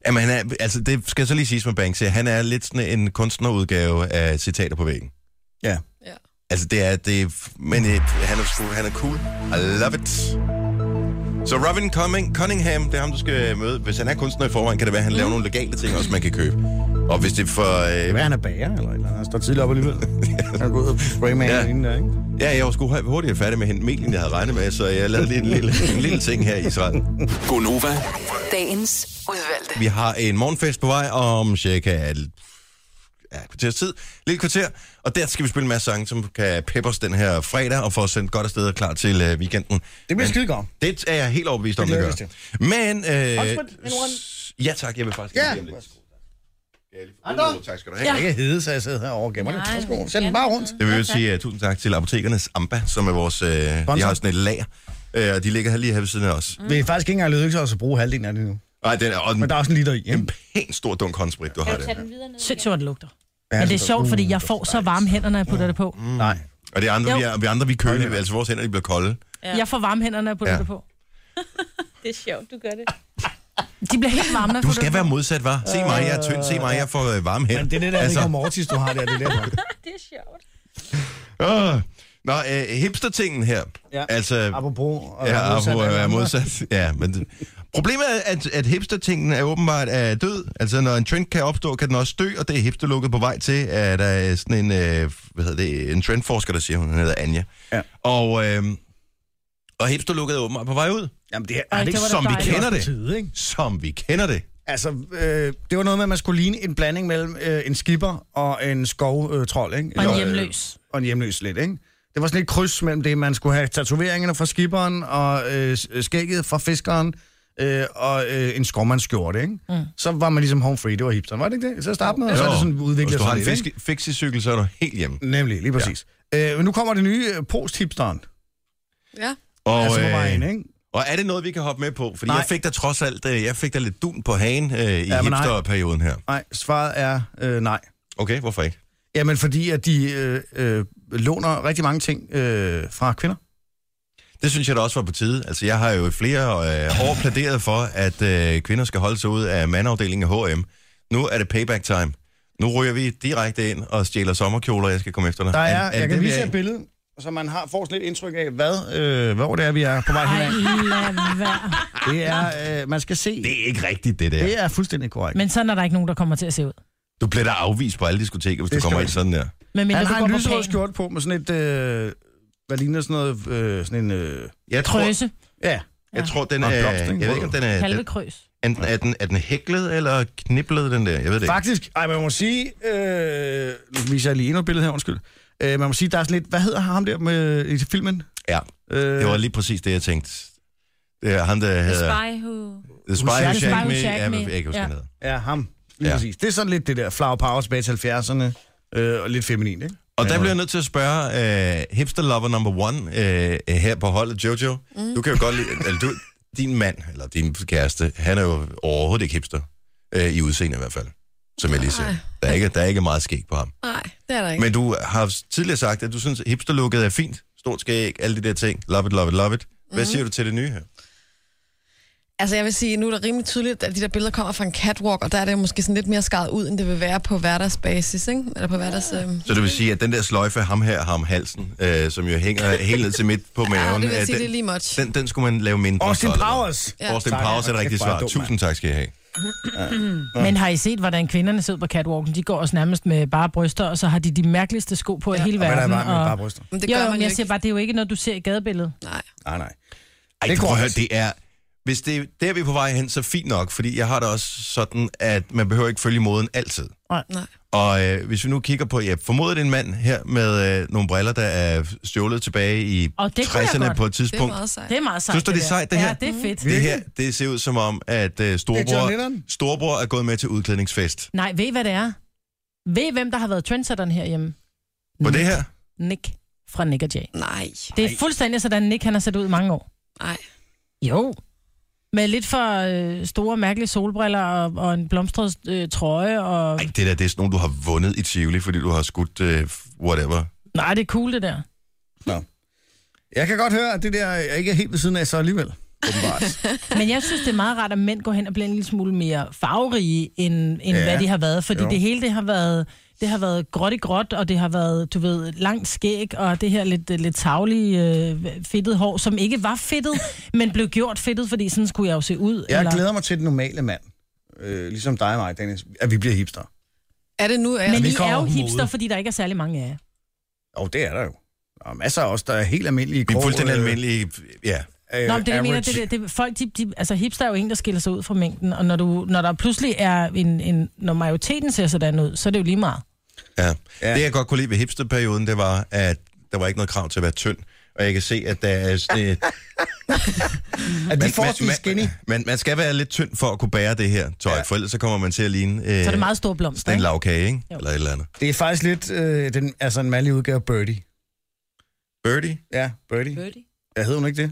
[SPEAKER 1] Jamen, han er, altså, det skal så lige siges med Banksy. Han er lidt sådan en kunstnerudgave af citater på væggen.
[SPEAKER 3] Ja.
[SPEAKER 4] Ja.
[SPEAKER 1] Altså, det er... Det, er- men øh, han, er, sgu- han er cool. I love it. Så Robin Cumming, Cunningham, det er ham, du skal møde. Hvis han er kunstner i forvejen, kan det være, at han laver nogle legale ting også, man kan købe. Og hvis det er for...
[SPEAKER 3] Det er,
[SPEAKER 1] Øh,
[SPEAKER 3] han er bager eller et eller andet. Han står tidligt op alligevel. Han er gået ud og sprayman
[SPEAKER 1] Ja.
[SPEAKER 3] ja. inden der, ikke?
[SPEAKER 1] ja, jeg var sgu høj- hurtigere færdig med at hente mel, end jeg havde regnet med, så jeg lavede lige en lille, en lille ting her i Israel.
[SPEAKER 7] Gonova,
[SPEAKER 6] Dagens udvalgte.
[SPEAKER 1] Vi har en morgenfest på vej om cirka et ja, et kvarters tid. Lille kvarter. Og der skal vi spille en masse sange, som kan peppe os den her fredag og få os sendt godt afsted og klar til øh, weekenden.
[SPEAKER 3] Det bliver
[SPEAKER 1] Men
[SPEAKER 3] skide godt.
[SPEAKER 1] Det er jeg helt overbevist om,
[SPEAKER 3] Det
[SPEAKER 1] det gør.
[SPEAKER 3] glæder vi
[SPEAKER 1] Men... Øh,
[SPEAKER 3] Oxford, en runde.
[SPEAKER 1] s- ja tak, jeg vil faktisk
[SPEAKER 3] Ja.
[SPEAKER 1] gerne lige om lidt. Ja, lige for- Uh, Tak skal du have.
[SPEAKER 3] Jeg kan ikke hedde, så jeg sidder her og gemmer det.
[SPEAKER 2] Nej.
[SPEAKER 3] Værsgo, Send den bare rundt.
[SPEAKER 1] Jeg vil jo sige uh, tusind tak til Apotekernes Amba, som er vores... Øh, de
[SPEAKER 3] Sponsor.
[SPEAKER 1] har sådan et lager, øh, og de ligger her lige her ved siden af os.
[SPEAKER 3] Vi er faktisk ikke engang lykkedes os at bruge halvdelen af det nu.
[SPEAKER 1] Nej, den er og
[SPEAKER 3] Men
[SPEAKER 1] en
[SPEAKER 3] der er også en liter i. Ikke?
[SPEAKER 1] pæn stor dunk håndsprit, du har der.
[SPEAKER 5] Synes jo, det lugter. Men det er sjovt,
[SPEAKER 1] uh,
[SPEAKER 5] fordi jeg får så varme hænder, når jeg putter det på.
[SPEAKER 1] Mm.
[SPEAKER 3] Mm. Nej.
[SPEAKER 1] Og det er andre,
[SPEAKER 5] Jo.
[SPEAKER 1] vi, er, vi andre, vi er kølige, altså vores hænder, de bliver kolde.
[SPEAKER 5] Jeg får varme hænder, når jeg putter
[SPEAKER 1] Ja.
[SPEAKER 5] det på.
[SPEAKER 2] Det er sjovt, du gør det.
[SPEAKER 5] De bliver helt varme, når jeg
[SPEAKER 1] Du
[SPEAKER 5] putter
[SPEAKER 1] skal
[SPEAKER 5] det
[SPEAKER 1] være
[SPEAKER 5] på.
[SPEAKER 1] modsat, var. Se mig, jeg er tynd. Se mig, jeg får øh, varme hænder.
[SPEAKER 3] Men det er det der altså... Rigor Mortis, du har der. Det er der.
[SPEAKER 2] Det er sjovt.
[SPEAKER 1] Åh. Nå, øh, hipster-tingen her.
[SPEAKER 3] Ja.
[SPEAKER 1] Altså,
[SPEAKER 3] Apropos. og
[SPEAKER 1] ja,
[SPEAKER 3] modsat
[SPEAKER 1] apropos
[SPEAKER 3] af
[SPEAKER 1] at
[SPEAKER 3] alle
[SPEAKER 1] være
[SPEAKER 3] andre.
[SPEAKER 1] modsat. Ja, men det- problemet er, at, at hipster-tingen er åbenbart er død. Altså, når en trend kan opstå, kan den også dø, og det er hipsterlukket på vej til, at der er sådan en, øh, hvad hedder det, en trendforsker, der siger, hun hedder Anja.
[SPEAKER 3] Ja.
[SPEAKER 1] Og, øh, og hipsterlukket er åbenbart på vej ud,
[SPEAKER 3] Jamen, det er,
[SPEAKER 5] Ej,
[SPEAKER 3] er det
[SPEAKER 5] det
[SPEAKER 3] ikke
[SPEAKER 5] var
[SPEAKER 1] som
[SPEAKER 5] da
[SPEAKER 1] vi
[SPEAKER 5] dejligt.
[SPEAKER 1] kender
[SPEAKER 3] på
[SPEAKER 1] det.
[SPEAKER 3] tide, ikke?
[SPEAKER 1] Som vi kender det.
[SPEAKER 3] Altså, øh, det var noget med, at man skulle ligne en blanding mellem øh, en skipper og en skovtrold, ikke?
[SPEAKER 5] Og en
[SPEAKER 3] Eller,
[SPEAKER 5] hjemløs.
[SPEAKER 3] Øh, og en hjemløs lidt, ikke? Det var sådan et kryds mellem det, man skulle have tatoveringerne fra skipperen og øh, s- skægget fra fiskeren øh, og øh, en skovmandsskjorte, ikke? Mm. Så var man ligesom home free, det var hipsteren, var det ikke det? Så starte med, og så er det sådan
[SPEAKER 1] Hvis
[SPEAKER 3] udviklet
[SPEAKER 1] du har
[SPEAKER 3] sig
[SPEAKER 1] en
[SPEAKER 3] lidt, ikke?
[SPEAKER 1] fisk- fixicykel, så er du helt hjemme.
[SPEAKER 3] Nemlig, lige præcis. Ja. Øh, men nu kommer det nye øh, post-hipsteren,
[SPEAKER 4] Ja.
[SPEAKER 1] Og,
[SPEAKER 3] altså på
[SPEAKER 1] øh,
[SPEAKER 3] vejen, ikke?
[SPEAKER 1] Og er det noget, vi kan hoppe med på? Fordi
[SPEAKER 3] Nej.
[SPEAKER 1] jeg fik da trods alt, øh, jeg fik da lidt dun på hagen øh, i ja,
[SPEAKER 3] Ja, men nej.
[SPEAKER 1] hipsterperioden her.
[SPEAKER 3] Nej, svaret er øh, nej.
[SPEAKER 1] Okay, hvorfor ikke?
[SPEAKER 3] Jamen, fordi at de øh, øh, låner rigtig mange ting øh, fra kvinder.
[SPEAKER 1] Det synes jeg da også var på tide. Altså, jeg har jo i flere øh, år plæderet for, at øh, kvinder skal holde sig ud af mandafdelingen af H&M. Nu er det payback time. Nu ryger vi direkte ind og stjæler sommerkjoler, jeg skal komme efter dig.
[SPEAKER 3] Der er, jeg kan
[SPEAKER 1] det, vi
[SPEAKER 3] vise
[SPEAKER 1] er
[SPEAKER 3] jer et
[SPEAKER 1] i?
[SPEAKER 3] billede, så man har, får sådan lidt indtryk af, hvad, øh, hvor det er, vi er på vej
[SPEAKER 5] Ej,
[SPEAKER 3] henad.
[SPEAKER 5] lad være.
[SPEAKER 3] Det er, øh, man skal se.
[SPEAKER 1] det er ikke rigtigt, det der.
[SPEAKER 3] Det er fuldstændig korrekt.
[SPEAKER 5] Men sådan er der ikke nogen, der kommer til at se ud.
[SPEAKER 1] Du bliver da afvist på alle diskoteker, hvis
[SPEAKER 3] Det
[SPEAKER 1] du
[SPEAKER 3] skal
[SPEAKER 1] kommer
[SPEAKER 3] man
[SPEAKER 1] ind sådan der.
[SPEAKER 5] Men mindre
[SPEAKER 3] han
[SPEAKER 5] du
[SPEAKER 3] har en
[SPEAKER 5] går
[SPEAKER 3] lyserød
[SPEAKER 5] på
[SPEAKER 3] skjorte på med sådan et, øh, hvad ligner sådan noget, øh, sådan en, øh,
[SPEAKER 1] Jeg
[SPEAKER 5] pæn
[SPEAKER 1] tror,
[SPEAKER 5] krøse,
[SPEAKER 3] ja,
[SPEAKER 1] jeg tror den er...
[SPEAKER 3] Og en blomst,
[SPEAKER 1] Jeg
[SPEAKER 3] ikke?
[SPEAKER 1] ved ikke, om den er... Den,
[SPEAKER 5] kalvekrøs.
[SPEAKER 1] enten, er, den, er den hæklet eller kniblet, den der? Jeg ved det ikke.
[SPEAKER 3] faktisk, ej, man må sige, øh, nu viser jeg lige endnu et billede her, undskyld. Øh, man må sige, der er sådan lidt, hvad hedder ham der med, i filmen?
[SPEAKER 1] Ja,
[SPEAKER 3] Øh,
[SPEAKER 1] det var lige præcis det, jeg tænkte. Det er ham, der
[SPEAKER 2] The
[SPEAKER 1] hedder...
[SPEAKER 2] spy who...
[SPEAKER 1] The Spy Who
[SPEAKER 3] Shagged
[SPEAKER 1] Shagged
[SPEAKER 5] Me.
[SPEAKER 1] Me.
[SPEAKER 5] Spy
[SPEAKER 1] Ja,
[SPEAKER 5] Who Shagged
[SPEAKER 1] men
[SPEAKER 5] Me.
[SPEAKER 1] jeg kan ikke huske,
[SPEAKER 5] Ja.
[SPEAKER 1] hvad den hedder.
[SPEAKER 3] Ja, ham. Lige
[SPEAKER 1] Ja.
[SPEAKER 3] ja. præcis. Det er sådan lidt det der flower power tilbage til 70'erne, øh, og lidt feminin, ikke?
[SPEAKER 1] Og der bliver jeg nødt til at spørge uh, hipster lover number one uh, her på holdet, Jojo. Mm. Du kan jo godt lide... Eller du, din mand, eller din kæreste, han er jo overhovedet ikke hipster. Uh, I udseende i hvert fald. Som jeg lige ser.
[SPEAKER 4] Nej.
[SPEAKER 1] Der er ikke, der er ikke meget skæg på ham.
[SPEAKER 4] Nej, det er der ikke.
[SPEAKER 1] Men du har tidligere sagt, at du synes, at hipsterlooket er fint. Stort skæg, alle de der ting. Love it, love it, love it. Hvad
[SPEAKER 4] Mhm.
[SPEAKER 1] siger du til det nye her?
[SPEAKER 4] Altså jeg vil sige, nu er det rimelig tydeligt, at de der billeder kommer fra en catwalk, og der er det måske sådan lidt mere skaret ud, end det vil være på hverdagsbasis, ikke? Eller på hverdags... Øh...
[SPEAKER 1] Så det vil sige, at den der sløjfe, ham her, ham halsen, øh, som jo hænger helt ned til midt på maven,
[SPEAKER 4] Ja, det vil
[SPEAKER 1] øh,
[SPEAKER 4] jeg sige, det er
[SPEAKER 1] den,
[SPEAKER 4] lige much.
[SPEAKER 1] den, den skulle man lave mindre.
[SPEAKER 3] Austin
[SPEAKER 1] så-
[SPEAKER 3] Powers!
[SPEAKER 1] Ja. Austin
[SPEAKER 3] Tak,
[SPEAKER 1] Powers er det
[SPEAKER 3] Jacob.
[SPEAKER 1] rigtige
[SPEAKER 3] Kæft, hvor
[SPEAKER 1] svar.
[SPEAKER 3] er jeg dum, mand.
[SPEAKER 1] Tusind tak skal I have.
[SPEAKER 5] Men har I set, hvordan kvinderne sidder på catwalken? De går også nærmest med bare bryster, og så har de de mærkeligste sko på ja. i hele
[SPEAKER 3] Og hvad der er
[SPEAKER 5] verden.
[SPEAKER 3] bare med bare bryster?
[SPEAKER 4] Men det
[SPEAKER 5] jo,
[SPEAKER 4] gør
[SPEAKER 5] jo,
[SPEAKER 4] man
[SPEAKER 5] men
[SPEAKER 4] jo
[SPEAKER 5] jeg
[SPEAKER 4] ikke.
[SPEAKER 5] siger bare, det er jo ikke noget, du ser i gadebilledet.
[SPEAKER 4] Nej.
[SPEAKER 3] Nej, nej.
[SPEAKER 1] Ej,
[SPEAKER 3] Det
[SPEAKER 1] det
[SPEAKER 3] går
[SPEAKER 1] prøv at høre,
[SPEAKER 3] også.
[SPEAKER 1] det er... Hvis det, der er vi på vej hen, så fint nok, fordi jeg har det også sådan, at man behøver ikke følge moden altid.
[SPEAKER 4] Nej.
[SPEAKER 1] Og øh, hvis vi nu kigger på, jeg formoder det er en mand her med øh, nogle briller, der er stjålet tilbage i
[SPEAKER 5] Og det kunne jeg
[SPEAKER 1] 60'erne
[SPEAKER 5] godt.
[SPEAKER 1] på et
[SPEAKER 4] Det er
[SPEAKER 1] tidspunkt.
[SPEAKER 4] meget sejt.
[SPEAKER 5] Det er meget sejt.
[SPEAKER 1] Synes du, det er
[SPEAKER 5] der.
[SPEAKER 1] sejt, det her? Mm.
[SPEAKER 5] Ja, det er fedt.
[SPEAKER 1] Det her, det ser ud som om, at øh,
[SPEAKER 3] Det er John
[SPEAKER 1] storebror,
[SPEAKER 3] Lennon.
[SPEAKER 1] storebror er gået med til udklædningsfest.
[SPEAKER 5] Nej, ved I, hvad det er? Ved I, hvem der har været trendsetteren herhjemme?
[SPEAKER 1] På det her?
[SPEAKER 5] Nick fra Nick og Jay.
[SPEAKER 4] Nej.
[SPEAKER 5] Det er fuldstændig sådan, Nick han har set ud i mange år.
[SPEAKER 4] Nej.
[SPEAKER 5] Jo. Med lidt for øh, store, mærkelige solbriller og, og en blomstret øh, trøje. Og...
[SPEAKER 1] Ej, det der, det er sådan nogle, du har vundet i Tivoli, fordi du har skudt øh, whatever.
[SPEAKER 5] Nej, det er cool, det der.
[SPEAKER 3] Jeg kan godt høre, at det der jeg ikke er helt ved siden af så alligevel. Åbenbart.
[SPEAKER 5] Men jeg synes, det er meget rart, at mænd går hen og bliver en lille smule mere farverige, end, end
[SPEAKER 3] Ja,
[SPEAKER 5] ja, hvad de har været. Fordi
[SPEAKER 3] jo.
[SPEAKER 5] jo. det hele, det har været... Det har været gråt i gråt, og det har været, du ved, langt skæg, og det her lidt, lidt tavlige, øh, fedtet hår, som ikke var fedtet, men blev gjort fedtet, fordi sådan skulle jeg jo se ud.
[SPEAKER 3] Jeg glæder mig til den normale mand. Øh, ligesom dig og mig, Dennis. At vi bliver hipster.
[SPEAKER 4] Er det nu, at
[SPEAKER 5] Men
[SPEAKER 4] jeg...
[SPEAKER 5] I
[SPEAKER 3] kommer
[SPEAKER 5] er jo
[SPEAKER 3] på mode.
[SPEAKER 5] hipster, fordi der ikke er særlig mange af jer.
[SPEAKER 3] Jo, det er der jo. Der er masser af os, der er helt almindelige
[SPEAKER 1] Vi er
[SPEAKER 3] grå,
[SPEAKER 1] fuldstændig
[SPEAKER 3] øh,
[SPEAKER 1] almindelige, ja.
[SPEAKER 3] øh,
[SPEAKER 5] Nå, men det, jeg mener,
[SPEAKER 3] average.
[SPEAKER 5] det, det, det, folk, de, de, altså hipster er jo en, der skiller sig ud fra mængden, og når, du, når der pludselig er en, en, når majoriteten ser sådan ud, så er det jo lige meget.
[SPEAKER 1] Ja.
[SPEAKER 3] Ja.
[SPEAKER 1] ja. Det, jeg godt kunne lide ved hipsterperioden, det var, at der var ikke noget krav til at være tynd. Og jeg kan se, at der er sådan et...
[SPEAKER 3] At vi
[SPEAKER 1] man,
[SPEAKER 3] er forholdsvis
[SPEAKER 1] man,
[SPEAKER 3] skinny.
[SPEAKER 1] man, man, man skal være lidt tynd for at kunne bære det her tøj,
[SPEAKER 3] Ja.
[SPEAKER 1] ja. for ellers så kommer man til at ligne... Øh,
[SPEAKER 5] Så er det meget store blomster,
[SPEAKER 1] sådan en
[SPEAKER 5] ikke?
[SPEAKER 1] lavkage, ikke?
[SPEAKER 5] Jo.
[SPEAKER 1] Eller et eller andet.
[SPEAKER 3] Det er faktisk lidt øh, den, altså en mandlig udgave af Birdie.
[SPEAKER 1] Birdie,
[SPEAKER 3] Ja, Birdie. Birdie.
[SPEAKER 2] Birdie.
[SPEAKER 3] Jeg hedder hun ikke det?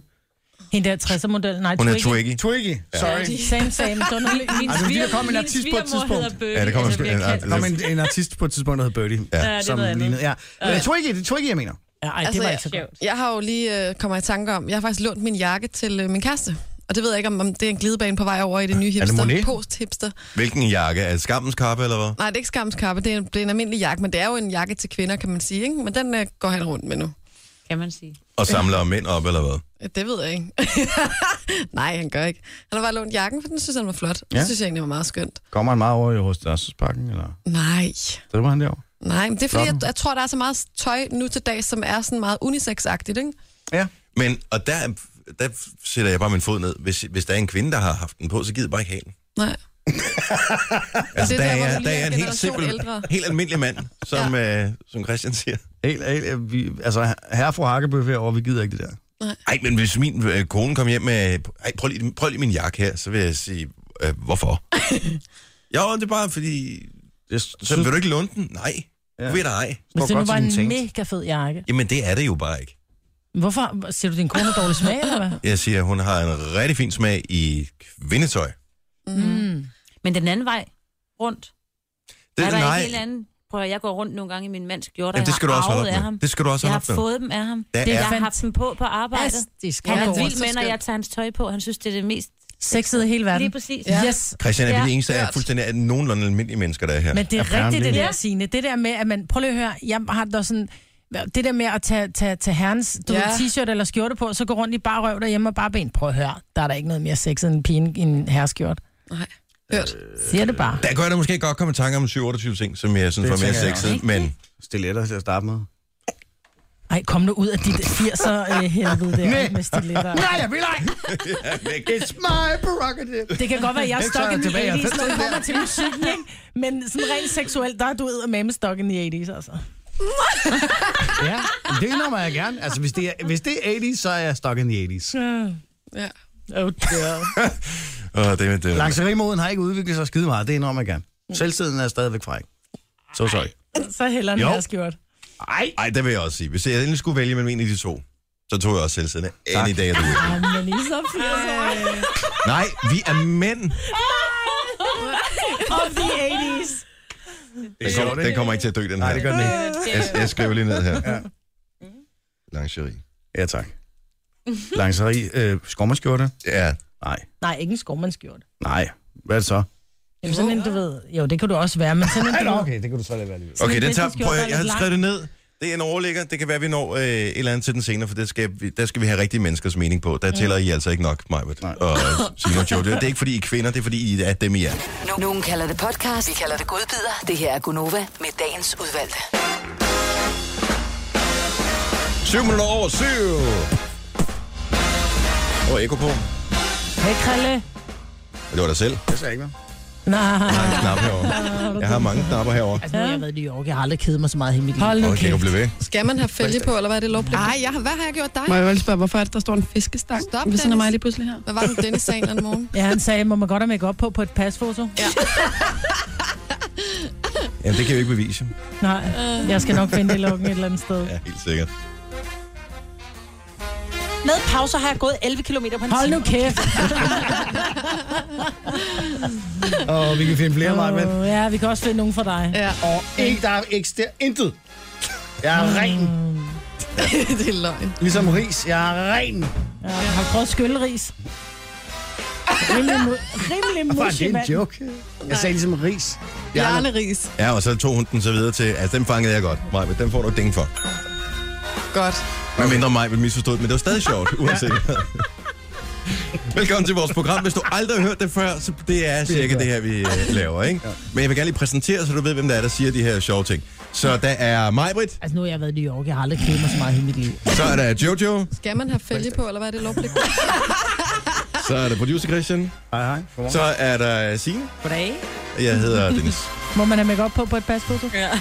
[SPEAKER 5] Hende der 60'er-model, nej,
[SPEAKER 1] hun er
[SPEAKER 5] Twiggy.
[SPEAKER 1] twiggy.
[SPEAKER 3] Twiggy. Sorry.
[SPEAKER 5] Same, same. Det var noget-
[SPEAKER 2] Min
[SPEAKER 3] Ej, men fordi der
[SPEAKER 2] sviger-
[SPEAKER 3] kom en
[SPEAKER 2] min
[SPEAKER 3] artist på et
[SPEAKER 2] svigermor hedder
[SPEAKER 3] tidspunkt.
[SPEAKER 2] Bøge.
[SPEAKER 1] Ja, der kom en
[SPEAKER 2] altså,
[SPEAKER 1] sp-
[SPEAKER 2] bliver
[SPEAKER 1] en
[SPEAKER 2] kaldt-
[SPEAKER 3] Der kom en, en artist på et tidspunkt, der hed Birdie.
[SPEAKER 1] Ja.
[SPEAKER 2] Ja, det er
[SPEAKER 3] som
[SPEAKER 2] noget andet.
[SPEAKER 3] lignede. Ja. Øh, Twiggy, det er Twiggy, jeg mener.
[SPEAKER 5] Ja, Ej, det
[SPEAKER 4] Altså,
[SPEAKER 5] var
[SPEAKER 4] jeg-
[SPEAKER 5] ikke så godt.
[SPEAKER 4] jeg har jo lige øh, kommer i tanke om, jeg har faktisk lånt min jakke til øh, min kæreste. Og det ved jeg ikke, om, om det er en glidebane på vej over i det nye
[SPEAKER 3] det
[SPEAKER 4] hipster,
[SPEAKER 3] Monet?
[SPEAKER 4] post-hipster.
[SPEAKER 1] Hvilken jakke? Er det skammens kappe, eller hvad?
[SPEAKER 4] Nej, det er ikke skamskappe, det er, en, det er en almindelig jakke, men det er jo en jakke til kvinder, kan man sige. Ikke? Men den øh, går han rundt med nu. Øh,
[SPEAKER 2] Kan man sige.
[SPEAKER 1] Og samler mænd op, eller hvad?
[SPEAKER 4] Det ved jeg ikke. Nej, han gør ikke. Han har bare lånt jakken, for den synes han var flot. Ja.
[SPEAKER 3] Ja.
[SPEAKER 4] Det synes jeg egentlig var meget skønt.
[SPEAKER 3] Kommer han meget over i Hovedstadsparken, eller?
[SPEAKER 4] Nej,
[SPEAKER 3] Det var han derovre.
[SPEAKER 4] nej. Men det er fordi,
[SPEAKER 3] Nå.
[SPEAKER 4] jeg, jeg tror, der er så meget tøj nu til dag, som er sådan meget unisex-agtigt, ikke?
[SPEAKER 3] Ja.
[SPEAKER 1] Men, og der, der sætter jeg bare min fod ned. Hvis, hvis der er en kvinde, der har haft den på, så gider jeg bare ikke have den.
[SPEAKER 4] Nej.
[SPEAKER 1] Altså,
[SPEAKER 4] Det er
[SPEAKER 1] der,
[SPEAKER 4] der, hvor
[SPEAKER 1] er,
[SPEAKER 4] vi
[SPEAKER 1] der
[SPEAKER 4] lige
[SPEAKER 1] er
[SPEAKER 4] er
[SPEAKER 1] en helt
[SPEAKER 4] generation
[SPEAKER 1] simpel,
[SPEAKER 4] ældre.
[SPEAKER 1] helt almindelig mand, som, ja. øh, som Christian siger.
[SPEAKER 3] Helt, helt, vi, altså, herre og fru Hakkebøf herovre, vi gider ikke det der.
[SPEAKER 1] Ej, men hvis min øh, kone kom hjem med, ej, prøv lige, prøv lige min jakke her, så vil jeg sige, øh, hvorfor? jo, det er bare fordi,
[SPEAKER 3] Jeg
[SPEAKER 1] så vil du ikke låne den? Nej,
[SPEAKER 3] Ja.
[SPEAKER 1] ja. ved der ej.
[SPEAKER 5] Men det nu var en
[SPEAKER 3] tænkt.
[SPEAKER 5] mega fed jakke.
[SPEAKER 1] Jamen, det er det jo bare ikke.
[SPEAKER 5] Hvorfor? Ser du din kone har dårlig smag, eller hvad?
[SPEAKER 1] Jeg siger, hun har en rigtig fin smag i kvindetøj.
[SPEAKER 2] Mm. Men den anden vej rundt,
[SPEAKER 1] Det,
[SPEAKER 2] er der
[SPEAKER 1] nej,
[SPEAKER 2] ikke en eller anden... Prøv at høre, jeg går rundt nogle gange i min mands skjorte,
[SPEAKER 1] jamen, det skal du
[SPEAKER 2] jeg
[SPEAKER 1] også
[SPEAKER 2] har
[SPEAKER 1] holde
[SPEAKER 2] arvet af
[SPEAKER 1] op
[SPEAKER 2] ham.
[SPEAKER 1] med. Det skal du også
[SPEAKER 2] Jeg
[SPEAKER 1] holde
[SPEAKER 2] har
[SPEAKER 1] op med.
[SPEAKER 2] fået dem af ham.
[SPEAKER 1] Der
[SPEAKER 5] Det
[SPEAKER 2] Jeg
[SPEAKER 5] er
[SPEAKER 1] er
[SPEAKER 2] har haft dem på på arbejdet.
[SPEAKER 5] Fantastisk.
[SPEAKER 2] Han er
[SPEAKER 4] Hvor er
[SPEAKER 2] vild
[SPEAKER 4] det
[SPEAKER 2] med,
[SPEAKER 4] så
[SPEAKER 2] når
[SPEAKER 4] skønt.
[SPEAKER 2] jeg tager hans tøj på. Han synes, det er det mest...
[SPEAKER 5] Sexet i hele
[SPEAKER 2] Lige
[SPEAKER 5] verden.
[SPEAKER 2] præcis.
[SPEAKER 4] Ja.
[SPEAKER 5] Yes.
[SPEAKER 1] Christian er ja,
[SPEAKER 2] Ja.
[SPEAKER 1] det eneste af
[SPEAKER 4] Hørt.
[SPEAKER 1] fuldstændig af nogenlunde almindelige mennesker, der er her.
[SPEAKER 5] Men det er rigtigt, det
[SPEAKER 3] Apparently.
[SPEAKER 5] der, Signe. Det der med, at man... Prøv lige at høre. Jeg har da sådan... Det der med at tage, tage, tage herrens du
[SPEAKER 4] Ja.
[SPEAKER 5] ja. ved, t-shirt eller skjorte på, så gå rundt i bare røv derhjemme og bare ben. Prøv at høre. Der er der ikke noget mere sexet end en pige i en herreskjort.
[SPEAKER 4] Nej. Hørt.
[SPEAKER 5] Siger det bare.
[SPEAKER 1] Der gør jeg da måske godt komme i tanke om 7-28 ting, som jeg synes
[SPEAKER 3] Det
[SPEAKER 1] var mere
[SPEAKER 3] tænker jeg
[SPEAKER 1] sexet,
[SPEAKER 5] også.
[SPEAKER 1] men
[SPEAKER 3] Stiletter til at starte med.
[SPEAKER 5] Ej, kom nu ud af dit 80'er øh, helvede
[SPEAKER 3] Nej.
[SPEAKER 5] der med stiletter.
[SPEAKER 3] Nej, jeg vil ikke! It's my prerogative.
[SPEAKER 5] Det kan godt være, at jeg er
[SPEAKER 3] Den tager
[SPEAKER 5] stokken
[SPEAKER 3] jeg
[SPEAKER 5] i
[SPEAKER 3] tilbage, og den
[SPEAKER 5] 80'erne, når det
[SPEAKER 3] der.
[SPEAKER 5] kommer til musikken, ikke? Men sådan rent seksuelt, der er du ud af mame stokken i 80'erne, altså.
[SPEAKER 3] Ja, det indrømmer jeg gerne. Altså, hvis det er, hvis det er 80's, så er jeg stuck in the 80's.
[SPEAKER 1] Øh.
[SPEAKER 4] Ja.
[SPEAKER 5] Oh, dear.
[SPEAKER 1] åh, det, det, det.
[SPEAKER 3] Langserimoden har ikke udviklet sig skide meget, det indrømmer jeg gerne. Selvtiden er stadigvæk fræk. Så sorry.
[SPEAKER 5] Så heller en
[SPEAKER 3] Jo.
[SPEAKER 5] herskjort.
[SPEAKER 3] Ej,
[SPEAKER 1] Ej, det vil jeg også sige. Hvis jeg endelig skulle vælge mellem en af de to, så tog jeg også selvsiddende. Any day of the week.
[SPEAKER 5] Ej, men I er så 80'er.
[SPEAKER 1] Nej, vi er mænd.
[SPEAKER 5] Of the 80's.
[SPEAKER 1] Den,
[SPEAKER 3] gør
[SPEAKER 1] kom,
[SPEAKER 3] det
[SPEAKER 1] den kommer ikke til at dø, den her.
[SPEAKER 3] Nej, det gør den ikke.
[SPEAKER 1] jeg, jeg skriver lige ned her. Ja. Lingerie.
[SPEAKER 3] Ja, tak. Langeri, øh, skommerskjorte?
[SPEAKER 1] Ja,
[SPEAKER 3] Nej.
[SPEAKER 5] Nej, ikke en skovmandskjort.
[SPEAKER 3] Nej. Hvad er det så?
[SPEAKER 5] Jamen sådan en, du ved... Jo, det kan du også være, men sådan en, du
[SPEAKER 3] Nå,
[SPEAKER 5] ved...
[SPEAKER 3] okay, det kunne du så lade være lige.
[SPEAKER 1] okay,
[SPEAKER 5] en
[SPEAKER 1] den tager,
[SPEAKER 5] vinterskjorte,
[SPEAKER 1] prøv, at-
[SPEAKER 5] der er
[SPEAKER 1] jeg har
[SPEAKER 5] lidt
[SPEAKER 1] skrevet det ned. Det er en overligger. Det kan være, vi når øh, et eller andet til den senere, for det skal, vi- der skal vi have rigtige menneskers mening på. Der tæller I altså ikke nok, Majbert
[SPEAKER 3] Nej.
[SPEAKER 1] og Simon og Joe. Det er ikke, fordi I er kvinder, det er, fordi I er dem, I er.
[SPEAKER 6] No- Nogen kalder det podcast, vi kalder det godbider. Det her er Gunova med dagens udvalgte.
[SPEAKER 1] 7 minutter over 7! Og ekko på. Og
[SPEAKER 5] Hey, Krille.
[SPEAKER 1] det var dig selv.
[SPEAKER 3] Jeg sagde ikke noget.
[SPEAKER 5] Nej.
[SPEAKER 1] Jeg har en knap herovre. Jeg har mange knapper herovre.
[SPEAKER 7] Altså, nu har jeg været i New York. Jeg har aldrig kedet mig så meget i hele mit liv.
[SPEAKER 5] Hold nu
[SPEAKER 1] Og jeg kan ikke
[SPEAKER 5] kæft.
[SPEAKER 1] blive ved.
[SPEAKER 4] Skal man have fælge på, eller hvad er det lovpligt?
[SPEAKER 9] Nej, jeg, har- hvad har jeg gjort dig?
[SPEAKER 7] Må jeg jo lige spørge, hvorfor er det, der står en fiskestang
[SPEAKER 4] Stop,
[SPEAKER 7] ved siden af
[SPEAKER 4] Dennis.
[SPEAKER 7] mig lige pludselig her?
[SPEAKER 4] Hvad var det, Dennis sagde en eller anden morgen?
[SPEAKER 5] Ja, han sagde, må man godt have make op på på et pasfoto?
[SPEAKER 1] Jamen, det kan vi ikke bevise.
[SPEAKER 5] Nej, jeg skal nok finde det i lukken et eller andet sted.
[SPEAKER 1] Ja, helt sikkert.
[SPEAKER 10] Med pauser har jeg gået 11 km på en
[SPEAKER 5] Hold
[SPEAKER 10] time.
[SPEAKER 5] nu kæft.
[SPEAKER 3] Og vi kan finde flere, Marvind.
[SPEAKER 5] Åh, ja, vi kan også finde nogen for dig.
[SPEAKER 4] Ja,
[SPEAKER 3] Og ikke, der eksisterer intet. Jeg er ren.
[SPEAKER 4] det er løgn.
[SPEAKER 3] Ligesom ris. Jeg er ren.
[SPEAKER 5] Ja, har du prøvet skylleris? Rimelig, mu- rimelig
[SPEAKER 3] Var det
[SPEAKER 5] mushy,
[SPEAKER 3] en
[SPEAKER 5] mand.
[SPEAKER 3] joke? Jeg sagde ligesom ris.
[SPEAKER 4] Bjarne Ries.
[SPEAKER 1] Ja, og så tog hun den så videre til, altså den fangede jeg godt. Maj, den får du et ding for.
[SPEAKER 4] Godt.
[SPEAKER 1] Hvad mindre mig vil misforstå det, men det var stadig sjovt, uanset hvad. Velkommen til vores program. Hvis du aldrig har hørt det før, så det er cirka det her, vi øh, laver, ikke? Men jeg vil gerne lige præsentere, så du ved, hvem der er, der siger de her sjove ting. Så der er Majbrit,
[SPEAKER 7] Altså, nu har jeg været i New York. Jeg har aldrig kedet mig så meget i hele mit liv.
[SPEAKER 1] så er der Jojo,
[SPEAKER 4] Skal man have fælge på, eller hvad er det lovpligt?
[SPEAKER 1] så er der producer Christian,
[SPEAKER 3] Hej, hej. Godmorgen.
[SPEAKER 1] så er der Signe.
[SPEAKER 10] Goddag.
[SPEAKER 1] og Jeg hedder Dennis.
[SPEAKER 5] Må man have make op på på et pasfoto?
[SPEAKER 4] Det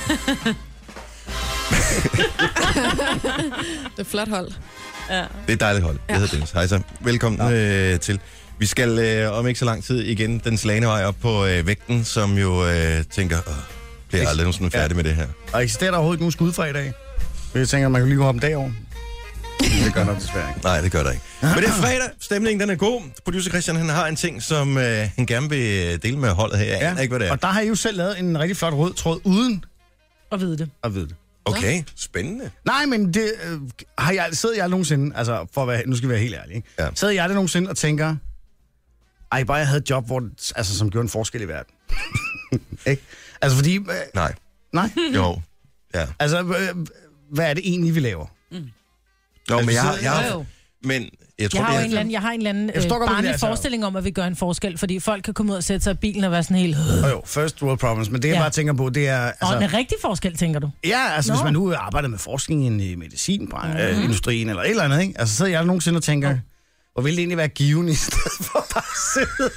[SPEAKER 4] er flot hold.
[SPEAKER 1] Det er et dejligt hold. Jeg hedder Dennis. Hej så. Velkommen øh, til. Vi skal øh, om ikke så lang tid igen den slagende vej op på øh, vægten, som jo øh, tænker, Åh, bliver jeg aldrig nogensinde
[SPEAKER 3] Ja.
[SPEAKER 1] færdig med det her.
[SPEAKER 3] Og eksisterer der overhovedet ikke nogen skud fra i dag? For Jeg tænker, man kan lige gå om dagover. Det gør der desværre ikke.
[SPEAKER 1] Nej, det gør der ikke. Men det er fredag. Stemningen den er god. Producer Christian han har en ting, som øh, han gerne vil øh, dele med holdet her. Jeg aner ikke, hvad det er.
[SPEAKER 3] Og der har I jo selv lavet en rigtig flot rød tråd, uden
[SPEAKER 5] Og vide det.
[SPEAKER 3] at vide det.
[SPEAKER 1] Okay, spændende.
[SPEAKER 3] Nej, men det, øh, har jeg, sidder jeg nogensinde, altså for at være, nu skal vi være helt ærlige, ikke?
[SPEAKER 1] Ja.
[SPEAKER 3] Ja. sidder jeg det nogensinde og tænker, ej, bare jeg havde et job, hvor, det- altså, som gjorde en forskel i verden. ikke? Altså fordi, øh,
[SPEAKER 1] Nej,
[SPEAKER 3] nej,
[SPEAKER 1] jo. Ja.
[SPEAKER 3] altså, øh, hvad er det egentlig, vi laver?
[SPEAKER 1] Jo, men jeg, har- jeg,
[SPEAKER 5] Jo, jo.
[SPEAKER 1] har- men jeg tror,
[SPEAKER 5] Jeg har jo en
[SPEAKER 1] det
[SPEAKER 5] eller anden, jeg har en eller anden
[SPEAKER 3] forstår
[SPEAKER 5] øh,
[SPEAKER 3] godt, hvad det
[SPEAKER 5] barnlig
[SPEAKER 3] er, så.
[SPEAKER 5] forestilling om, at vi gør en forskel, fordi folk kan komme ud og sætte sig i bilen og være sådan helt...
[SPEAKER 3] Og jo, first world problems, men det jeg
[SPEAKER 5] Ja.
[SPEAKER 3] bare tænker på, det er,
[SPEAKER 5] Og
[SPEAKER 3] altså,
[SPEAKER 5] en rigtig forskel, tænker du?
[SPEAKER 3] ja, altså, hvis
[SPEAKER 5] Nå.
[SPEAKER 3] man nu arbejder med forskning i
[SPEAKER 4] Mhm.
[SPEAKER 3] medicinindustrien mm. eller et eller andet, ikke? Altså, sidder jeg nogensinde og tænker, hvor ville det egentlig være givende, i stedet for bare at sidde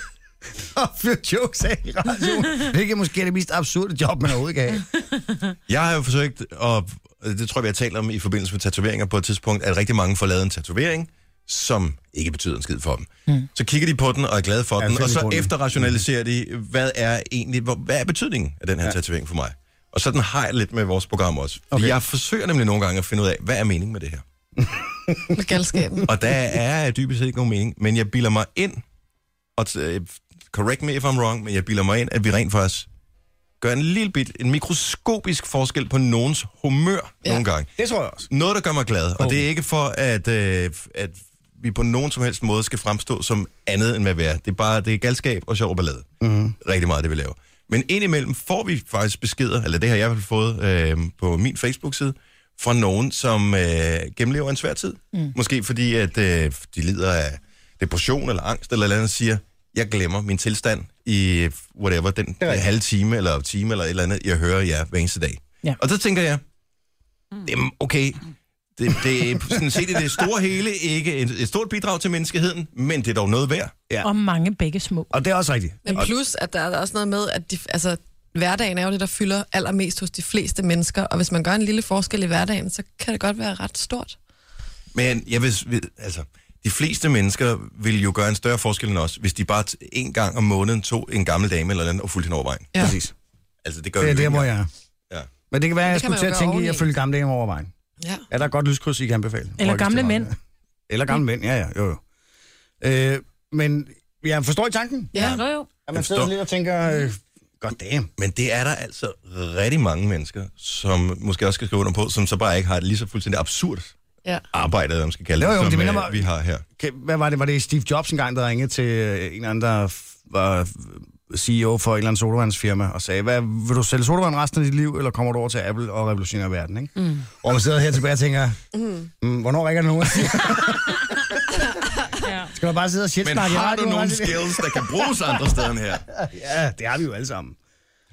[SPEAKER 3] og fyre jokes af i radioen, hvilket måske er det mest absurde job, man overhovedet kan have.
[SPEAKER 1] Jeg har jo forsøgt, og det tror jeg, vi har talt om i forbindelse med tatoveringer på et tidspunkt, at rigtig mange får lavet en tatovering, som ikke betyder en skid for dem. Mm. Så kigger de på den og er glade for
[SPEAKER 3] Ja,
[SPEAKER 1] ja, den,
[SPEAKER 3] find
[SPEAKER 1] og så
[SPEAKER 3] grunden.
[SPEAKER 1] efterrationaliserer de, hvad er egentlig, hvor, hvad er betydningen af den her ja. tatovering for mig? Og sådan har jeg lidt med vores program også. Okay.
[SPEAKER 3] Okay.
[SPEAKER 1] Jeg forsøger nemlig nogle gange at finde ud af, hvad er meningen med det her?
[SPEAKER 4] Med galskaben.
[SPEAKER 1] Og der er dybest set ikke nogen mening, men jeg bilder mig ind, og t- øh, correct me if I'm wrong, men jeg bilder mig ind, at vi rent faktisk gør en lille bit, en mikroskopisk forskel på nogens humør ja. nogle gange.
[SPEAKER 3] Det tror jeg også.
[SPEAKER 1] Noget, der gør mig glad, og det er ikke for, at, øh, at vi på nogen som helst måde skal fremstå som andet end hvad vi er. Det er bare, det er galskab og sjov ballade. Mm. Rigtig meget, det vi laver. Men indimellem får vi faktisk beskeder, eller det har jeg i hvert fald fået øh, på min Facebook-side, fra nogen, som øh, gennemlever en svær tid. Mm. Måske fordi, at øh, de lider af depression eller angst eller et eller andet, siger, jeg glemmer min tilstand i whatever, den halve time eller time eller et eller andet, jeg hører jer hver eneste dag.
[SPEAKER 5] Ja.
[SPEAKER 1] Og så tænker jeg, det er okay. Det, det er sådan set i det store hele ikke et, et stort bidrag til menneskeheden, men det er dog noget værd.
[SPEAKER 3] Ja.
[SPEAKER 5] Og mange begge små.
[SPEAKER 3] Og det er også rigtigt.
[SPEAKER 4] Men plus, at der er også noget med, at de, altså, hverdagen er jo det, der fylder allermest hos de fleste mennesker, og hvis man gør en lille forskel i hverdagen, så kan det godt være ret stort.
[SPEAKER 1] Men jeg vil, vil- altså, de fleste mennesker vil jo gøre en større forskel end os, hvis de bare t- en gang om måneden tog en gammel dame eller noget og fulgte hende over vejen.
[SPEAKER 4] Ja.
[SPEAKER 3] Præcis.
[SPEAKER 1] Altså, det gør
[SPEAKER 3] Det
[SPEAKER 1] vi
[SPEAKER 3] er
[SPEAKER 1] jo
[SPEAKER 3] der,
[SPEAKER 1] ikke
[SPEAKER 3] hvor
[SPEAKER 1] engang.
[SPEAKER 3] jeg er.
[SPEAKER 1] Ja.
[SPEAKER 3] Men det kan være, at jeg
[SPEAKER 4] Det kan
[SPEAKER 3] skulle
[SPEAKER 4] man
[SPEAKER 3] til
[SPEAKER 4] jo
[SPEAKER 3] at
[SPEAKER 4] gøre
[SPEAKER 3] tænke i at
[SPEAKER 4] oveni.
[SPEAKER 3] følge gamle dame over vejen.
[SPEAKER 4] Ja.
[SPEAKER 3] Er der et godt lyskryds, I kan anbefale?
[SPEAKER 5] Eller
[SPEAKER 3] Rykkes til
[SPEAKER 5] gamle
[SPEAKER 3] mig.
[SPEAKER 5] mænd.
[SPEAKER 3] Eller gamle mænd, ja, ja. Jo, jo. Øh, men jeg forstår i tanken,
[SPEAKER 4] Ja.
[SPEAKER 5] Jo, jo.
[SPEAKER 3] at
[SPEAKER 1] Jeg
[SPEAKER 3] man sidder
[SPEAKER 1] forstår.
[SPEAKER 3] lidt og tænker, øh, god damn.
[SPEAKER 1] Men det er der altså rigtig mange mennesker, som måske også skal skrive under på, som så bare ikke har et lige så fuldstændig absurd
[SPEAKER 4] Ja.
[SPEAKER 1] arbejde, eller man skal kalde det,
[SPEAKER 3] Jo, jo,
[SPEAKER 1] som
[SPEAKER 3] det minder
[SPEAKER 1] øh,
[SPEAKER 3] mig-
[SPEAKER 1] vi har her.
[SPEAKER 3] Kan- Hvad var det? Var det Steve Jobs engang, der ringede til øh, en eller anden, der f- var CEO for et eller andet sodavandsfirma og sagde, Hvad, vil du sælge sodavand resten af dit liv, eller kommer du over til Apple og revolutionerer verden? Ikke? Mm. Og man sidder her tilbage og tænker,
[SPEAKER 4] Mm.
[SPEAKER 3] mm, hvornår ringer det nogen?
[SPEAKER 5] Ja.
[SPEAKER 3] Skal man bare sidde og shit
[SPEAKER 1] Men har du nogle
[SPEAKER 3] skæld?
[SPEAKER 1] skills, der kan bruges andre steder end her?
[SPEAKER 3] Ja, det har vi jo alle sammen.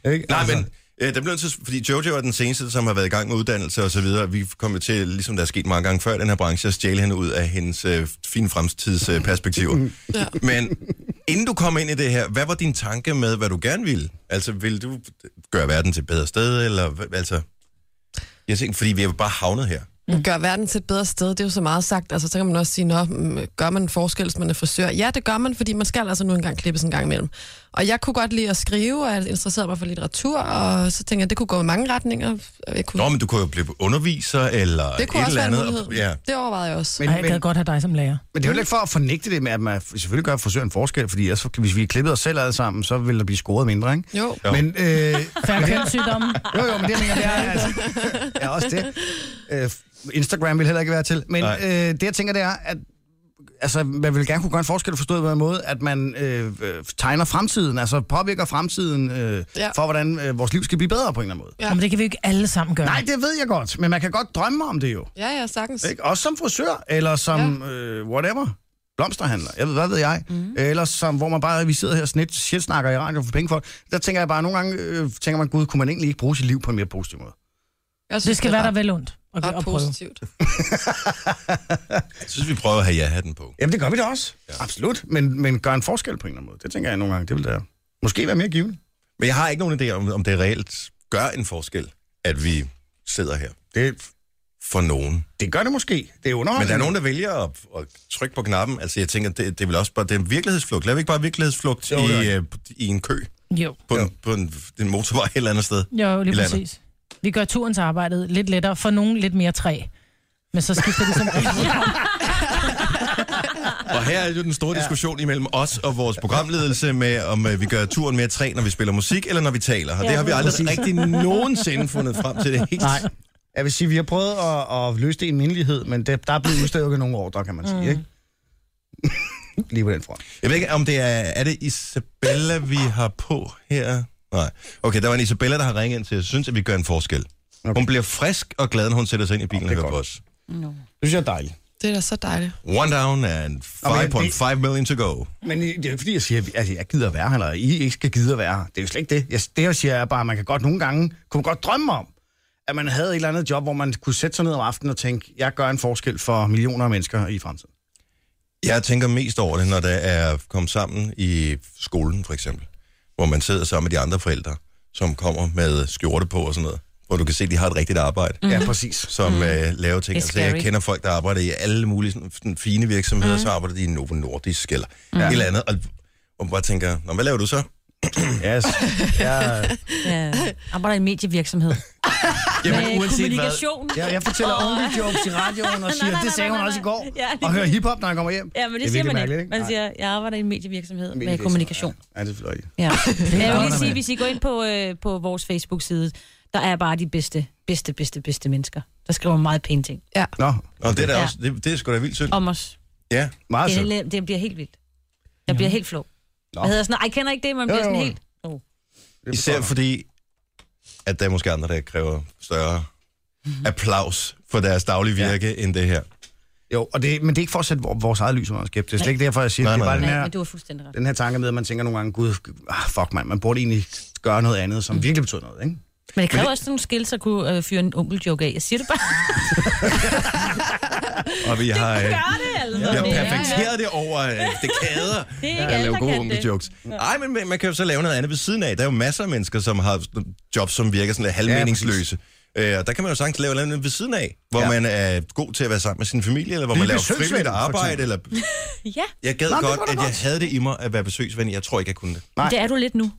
[SPEAKER 3] Ikke? Altså.
[SPEAKER 1] Nej,
[SPEAKER 4] Altså-
[SPEAKER 1] men øh, der blev nødt til, fordi Jojo er den seneste, som har været i gang med uddannelse og så videre. Vi kommer til, ligesom der er sket mange gange før i den her branche, at stjæle hende ud af hendes øh, fine fremtidsperspektiver. Øh, ja. Men inden du kom ind i det her, hvad var din tanke med, hvad du gerne ville? Altså, vil du gøre verden til et bedre sted, eller hva- altså... Jeg tænkte, fordi vi er bare havnet her.
[SPEAKER 5] Mm.
[SPEAKER 4] Gør verden til et bedre sted, det er jo så meget sagt. Altså, så kan man også sige, nå, mm, gør man en forskel, hvis man er frisør? Ja, det gør man, fordi man skal altså nu engang klippes en gang imellem. Og jeg kunne godt lide at skrive, og jeg interesserede mig for litteratur, og så tænkte jeg, det kunne gå i mange retninger. og Jeg kunne,
[SPEAKER 1] Nå, men du kunne jo blive underviser, eller
[SPEAKER 4] det kunne
[SPEAKER 1] et
[SPEAKER 4] også
[SPEAKER 1] eller
[SPEAKER 4] være en
[SPEAKER 1] andet.
[SPEAKER 4] mulighed.
[SPEAKER 1] ja.
[SPEAKER 4] Det overvejede jeg også.
[SPEAKER 5] Ej, jeg gad godt have dig som lærer.
[SPEAKER 3] Men det er jo heller ikke for at fornægte det med, at man selvfølgelig gør frisøren en forskel, fordi ellers, hvis vi klippede os selv alle sammen, så ville der blive scoret mindre, ikke?
[SPEAKER 4] Jo,
[SPEAKER 1] Jo.
[SPEAKER 3] Men, øh,
[SPEAKER 5] Færre kønssygdomme.
[SPEAKER 3] jo, jo, men det, jeg mener, det er altså, ja, også det. Øh, Instagram vil heller ikke være til. Men
[SPEAKER 1] Nej.
[SPEAKER 3] øh, det, jeg tænker, det er, at altså, man vil gerne kunne gøre en forskel forstået på en måde, at man øh, øh, tegner fremtiden, altså påvirker fremtiden øh,
[SPEAKER 4] Ja.
[SPEAKER 3] ja. for, hvordan øh, vores liv skal blive bedre på en eller anden måde.
[SPEAKER 5] Ja. Men det kan vi jo ikke alle sammen gøre.
[SPEAKER 3] Nej, det ved jeg godt, men man kan godt drømme om det jo.
[SPEAKER 4] ja, ja, sagtens.
[SPEAKER 3] Ikke? Også som frisør, eller som ja. øh, whatever. Blomsterhandler, jeg ved, hvad ved jeg. Mm. Eller som, hvor man bare, vi sidder her og snit, shit snakker i radio for penge for. Der tænker jeg bare, nogle gange øh, tænker man, gud, kunne man egentlig ikke bruge sit liv på en mere positiv måde?
[SPEAKER 4] Jeg synes,
[SPEAKER 5] Det skal være der
[SPEAKER 4] ret-
[SPEAKER 5] vel ondt at, at
[SPEAKER 4] ret
[SPEAKER 5] prøve.
[SPEAKER 4] positivt.
[SPEAKER 1] Jeg synes, vi prøver at have ja-hatten på.
[SPEAKER 3] Jamen, det gør vi da også. Ja. Absolut. Men, men gør en forskel på en eller anden måde. Det tænker jeg nogle gange, det vil da måske være mere givende.
[SPEAKER 1] Men jeg har ikke nogen idé om, om det reelt gør en forskel, at vi sidder her.
[SPEAKER 3] Det,
[SPEAKER 1] For nogen.
[SPEAKER 3] det gør det måske. Det er underholdende.
[SPEAKER 1] Men der er nogen, der vælger at, at trykke på knappen. Altså, jeg tænker, det, det er vel også bare, det er en virkelighedsflugt. Lad vi ikke bare virkelighedsflugt
[SPEAKER 3] Jo,
[SPEAKER 1] jo, i,
[SPEAKER 3] det
[SPEAKER 1] øh, i en kø
[SPEAKER 5] Jo.
[SPEAKER 1] på, en, på en, en motorvej et eller andet sted.
[SPEAKER 5] Jo, lige
[SPEAKER 1] I landet.
[SPEAKER 5] præcis. Vi gør turen til arbejdet lidt lettere, for nogen lidt mere træ. Men så skifter det som
[SPEAKER 1] Og her er jo den store diskussion imellem os og vores programledelse med, om øh, vi gør turen mere træ, når vi spiller musik, eller når vi taler. Og det
[SPEAKER 5] Ja,
[SPEAKER 1] har vi aldrig
[SPEAKER 5] præcis.
[SPEAKER 1] rigtig nogensinde fundet frem til det helt.
[SPEAKER 3] Nej. Jeg vil sige, vi har prøvet at, at løse det i en mindelighed, men det, der er blevet udstykket nogle ordre, kan man sige, mm. ikke? Lige på den front.
[SPEAKER 1] Jeg ved ikke, om det er... Er det Isabella, vi har på her? Nej. Okay, der var en Isabella, der har ringet ind til os. Synes, at vi gør en forskel. Okay.
[SPEAKER 3] Okay.
[SPEAKER 1] Hun bliver frisk og glad, når hun sætter sig ind i bilen og
[SPEAKER 3] Åh, det er
[SPEAKER 1] hører på
[SPEAKER 3] godt.
[SPEAKER 1] os.
[SPEAKER 3] Det synes jeg er dejligt.
[SPEAKER 4] Det er da så dejligt.
[SPEAKER 1] One down and 5.5 million to go.
[SPEAKER 3] Men det er jo ikke, fordi, jeg siger, at altså, jeg gider at være her, eller I ikke skal gide at være her. Det er jo slet ikke det. Jeg, det, jeg siger, er bare, at man kan godt nogle gange, kunne man godt drømme om, at man havde et eller andet job, hvor man kunne sætte sig ned om aftenen og tænke, jeg gør en forskel for millioner af mennesker i fremtiden.
[SPEAKER 1] Jeg tænker mest over det, når der er kommet sammen i skolen, for eksempel. Hvor man sidder sammen med de andre forældre, som kommer med skjorte på og sådan noget. Hvor du kan se, at de har et rigtigt arbejde.
[SPEAKER 3] Mm. Ja, præcis.
[SPEAKER 1] som mm. øh, laver ting.
[SPEAKER 5] Det er
[SPEAKER 1] Altså, jeg
[SPEAKER 5] scary.
[SPEAKER 1] kender folk, der arbejder i alle mulige sådan, sådan fine virksomheder, mm. så arbejder de i Novo Nordisk eller mm. et eller andet, og, og man bare tænker, Nå, hvad laver du så?
[SPEAKER 3] Yes. Jeg,
[SPEAKER 10] Ja. Arbejder i en medievirksomhed. Med kommunikation.
[SPEAKER 3] jeg, jeg fortæller ordentlige jokes i radioen og siger,
[SPEAKER 10] nej,
[SPEAKER 3] det sagde hun
[SPEAKER 10] nej,
[SPEAKER 3] også
[SPEAKER 10] nej.
[SPEAKER 3] i går,
[SPEAKER 10] Ja, lige
[SPEAKER 3] og hører
[SPEAKER 10] præcis.
[SPEAKER 3] hiphop, når jeg kommer hjem.
[SPEAKER 10] Ja, men det,
[SPEAKER 3] er
[SPEAKER 10] siger
[SPEAKER 3] virkelig
[SPEAKER 10] man
[SPEAKER 3] mærkeligt,
[SPEAKER 10] ikke. Man
[SPEAKER 3] Nej.
[SPEAKER 10] siger, jeg arbejder i en medievirksomhed med
[SPEAKER 3] Medievirksomhed,
[SPEAKER 10] kommunikation.
[SPEAKER 3] Ja, det er selvfølgelig
[SPEAKER 10] Ja.
[SPEAKER 3] rigtigt.
[SPEAKER 10] Men jeg vil
[SPEAKER 5] godt,
[SPEAKER 10] lige sige,
[SPEAKER 5] mand.
[SPEAKER 10] hvis I går ind på, øh, på vores Facebook-side, der er bare de bedste, bedste, bedste, bedste mennesker. Der skriver meget pæne ting
[SPEAKER 3] Nå,
[SPEAKER 1] Og det er, da
[SPEAKER 10] Ja.
[SPEAKER 1] også, det, det er sgu da vildt synd.
[SPEAKER 10] om os.
[SPEAKER 1] Ja.
[SPEAKER 3] meget sødt.
[SPEAKER 10] Det, det bliver helt vildt. Jeg bliver helt flov. Hvad hedder sådan noget? Ej, kender ikke det, man
[SPEAKER 3] Jo,
[SPEAKER 10] bliver sådan
[SPEAKER 3] jo.
[SPEAKER 10] helt...
[SPEAKER 3] Det forstår
[SPEAKER 1] Især
[SPEAKER 3] jeg.
[SPEAKER 1] fordi, at der er måske andre, der kræver større applaus for deres daglige virke ja. end det her.
[SPEAKER 3] Jo, og det, men det er ikke for at sætte vor- vores eget lys under en skæb. Det er slet ikke derfor, jeg siger,
[SPEAKER 1] Nej,
[SPEAKER 3] nej, det er
[SPEAKER 1] nej,
[SPEAKER 3] bare den
[SPEAKER 1] nej.
[SPEAKER 10] Nej,
[SPEAKER 3] her
[SPEAKER 10] men du har fuldstændig ret.
[SPEAKER 3] den her tanke med, at man tænker nogle gange, gud, ah, fuck mand, man burde egentlig gøre noget andet,
[SPEAKER 1] Mm.
[SPEAKER 3] som virkelig betyder noget, ikke?
[SPEAKER 10] Men det kræver også sådan nogle skills at kunne øh, fyre en onkeljoke af. Jeg siger det bare.
[SPEAKER 1] Og vi har, øh,
[SPEAKER 10] Gør det, altså.
[SPEAKER 1] vi har
[SPEAKER 10] Det er-
[SPEAKER 1] perfekteret det over øh, det kader.
[SPEAKER 10] Det er ikke
[SPEAKER 1] at
[SPEAKER 10] alle,
[SPEAKER 1] lave
[SPEAKER 10] der
[SPEAKER 1] gode
[SPEAKER 10] kan det.
[SPEAKER 1] onkeljokes. Nej, men man- man kan jo så lave noget andet ved siden af. Der er jo masser af mennesker, som har sådan jobs, som virker sådan lidt halvmeningsløse. Øh, og der kan man jo sagtens lave noget ved siden af, hvor ja.
[SPEAKER 3] Ja.
[SPEAKER 1] man er god til at være sammen med sin familie, eller hvor
[SPEAKER 3] Blive
[SPEAKER 1] man laver
[SPEAKER 3] besøgsven,
[SPEAKER 1] frivilligt
[SPEAKER 3] for
[SPEAKER 1] arbejde. Eller...
[SPEAKER 10] Ja,
[SPEAKER 1] Jeg gad
[SPEAKER 3] Nå, det
[SPEAKER 1] godt,
[SPEAKER 3] var da
[SPEAKER 1] at jeg
[SPEAKER 3] godt.
[SPEAKER 1] havde det i mig at være besøgsven. Jeg tror ikke, jeg kunne det.
[SPEAKER 3] Nej.
[SPEAKER 10] det er du lidt nu.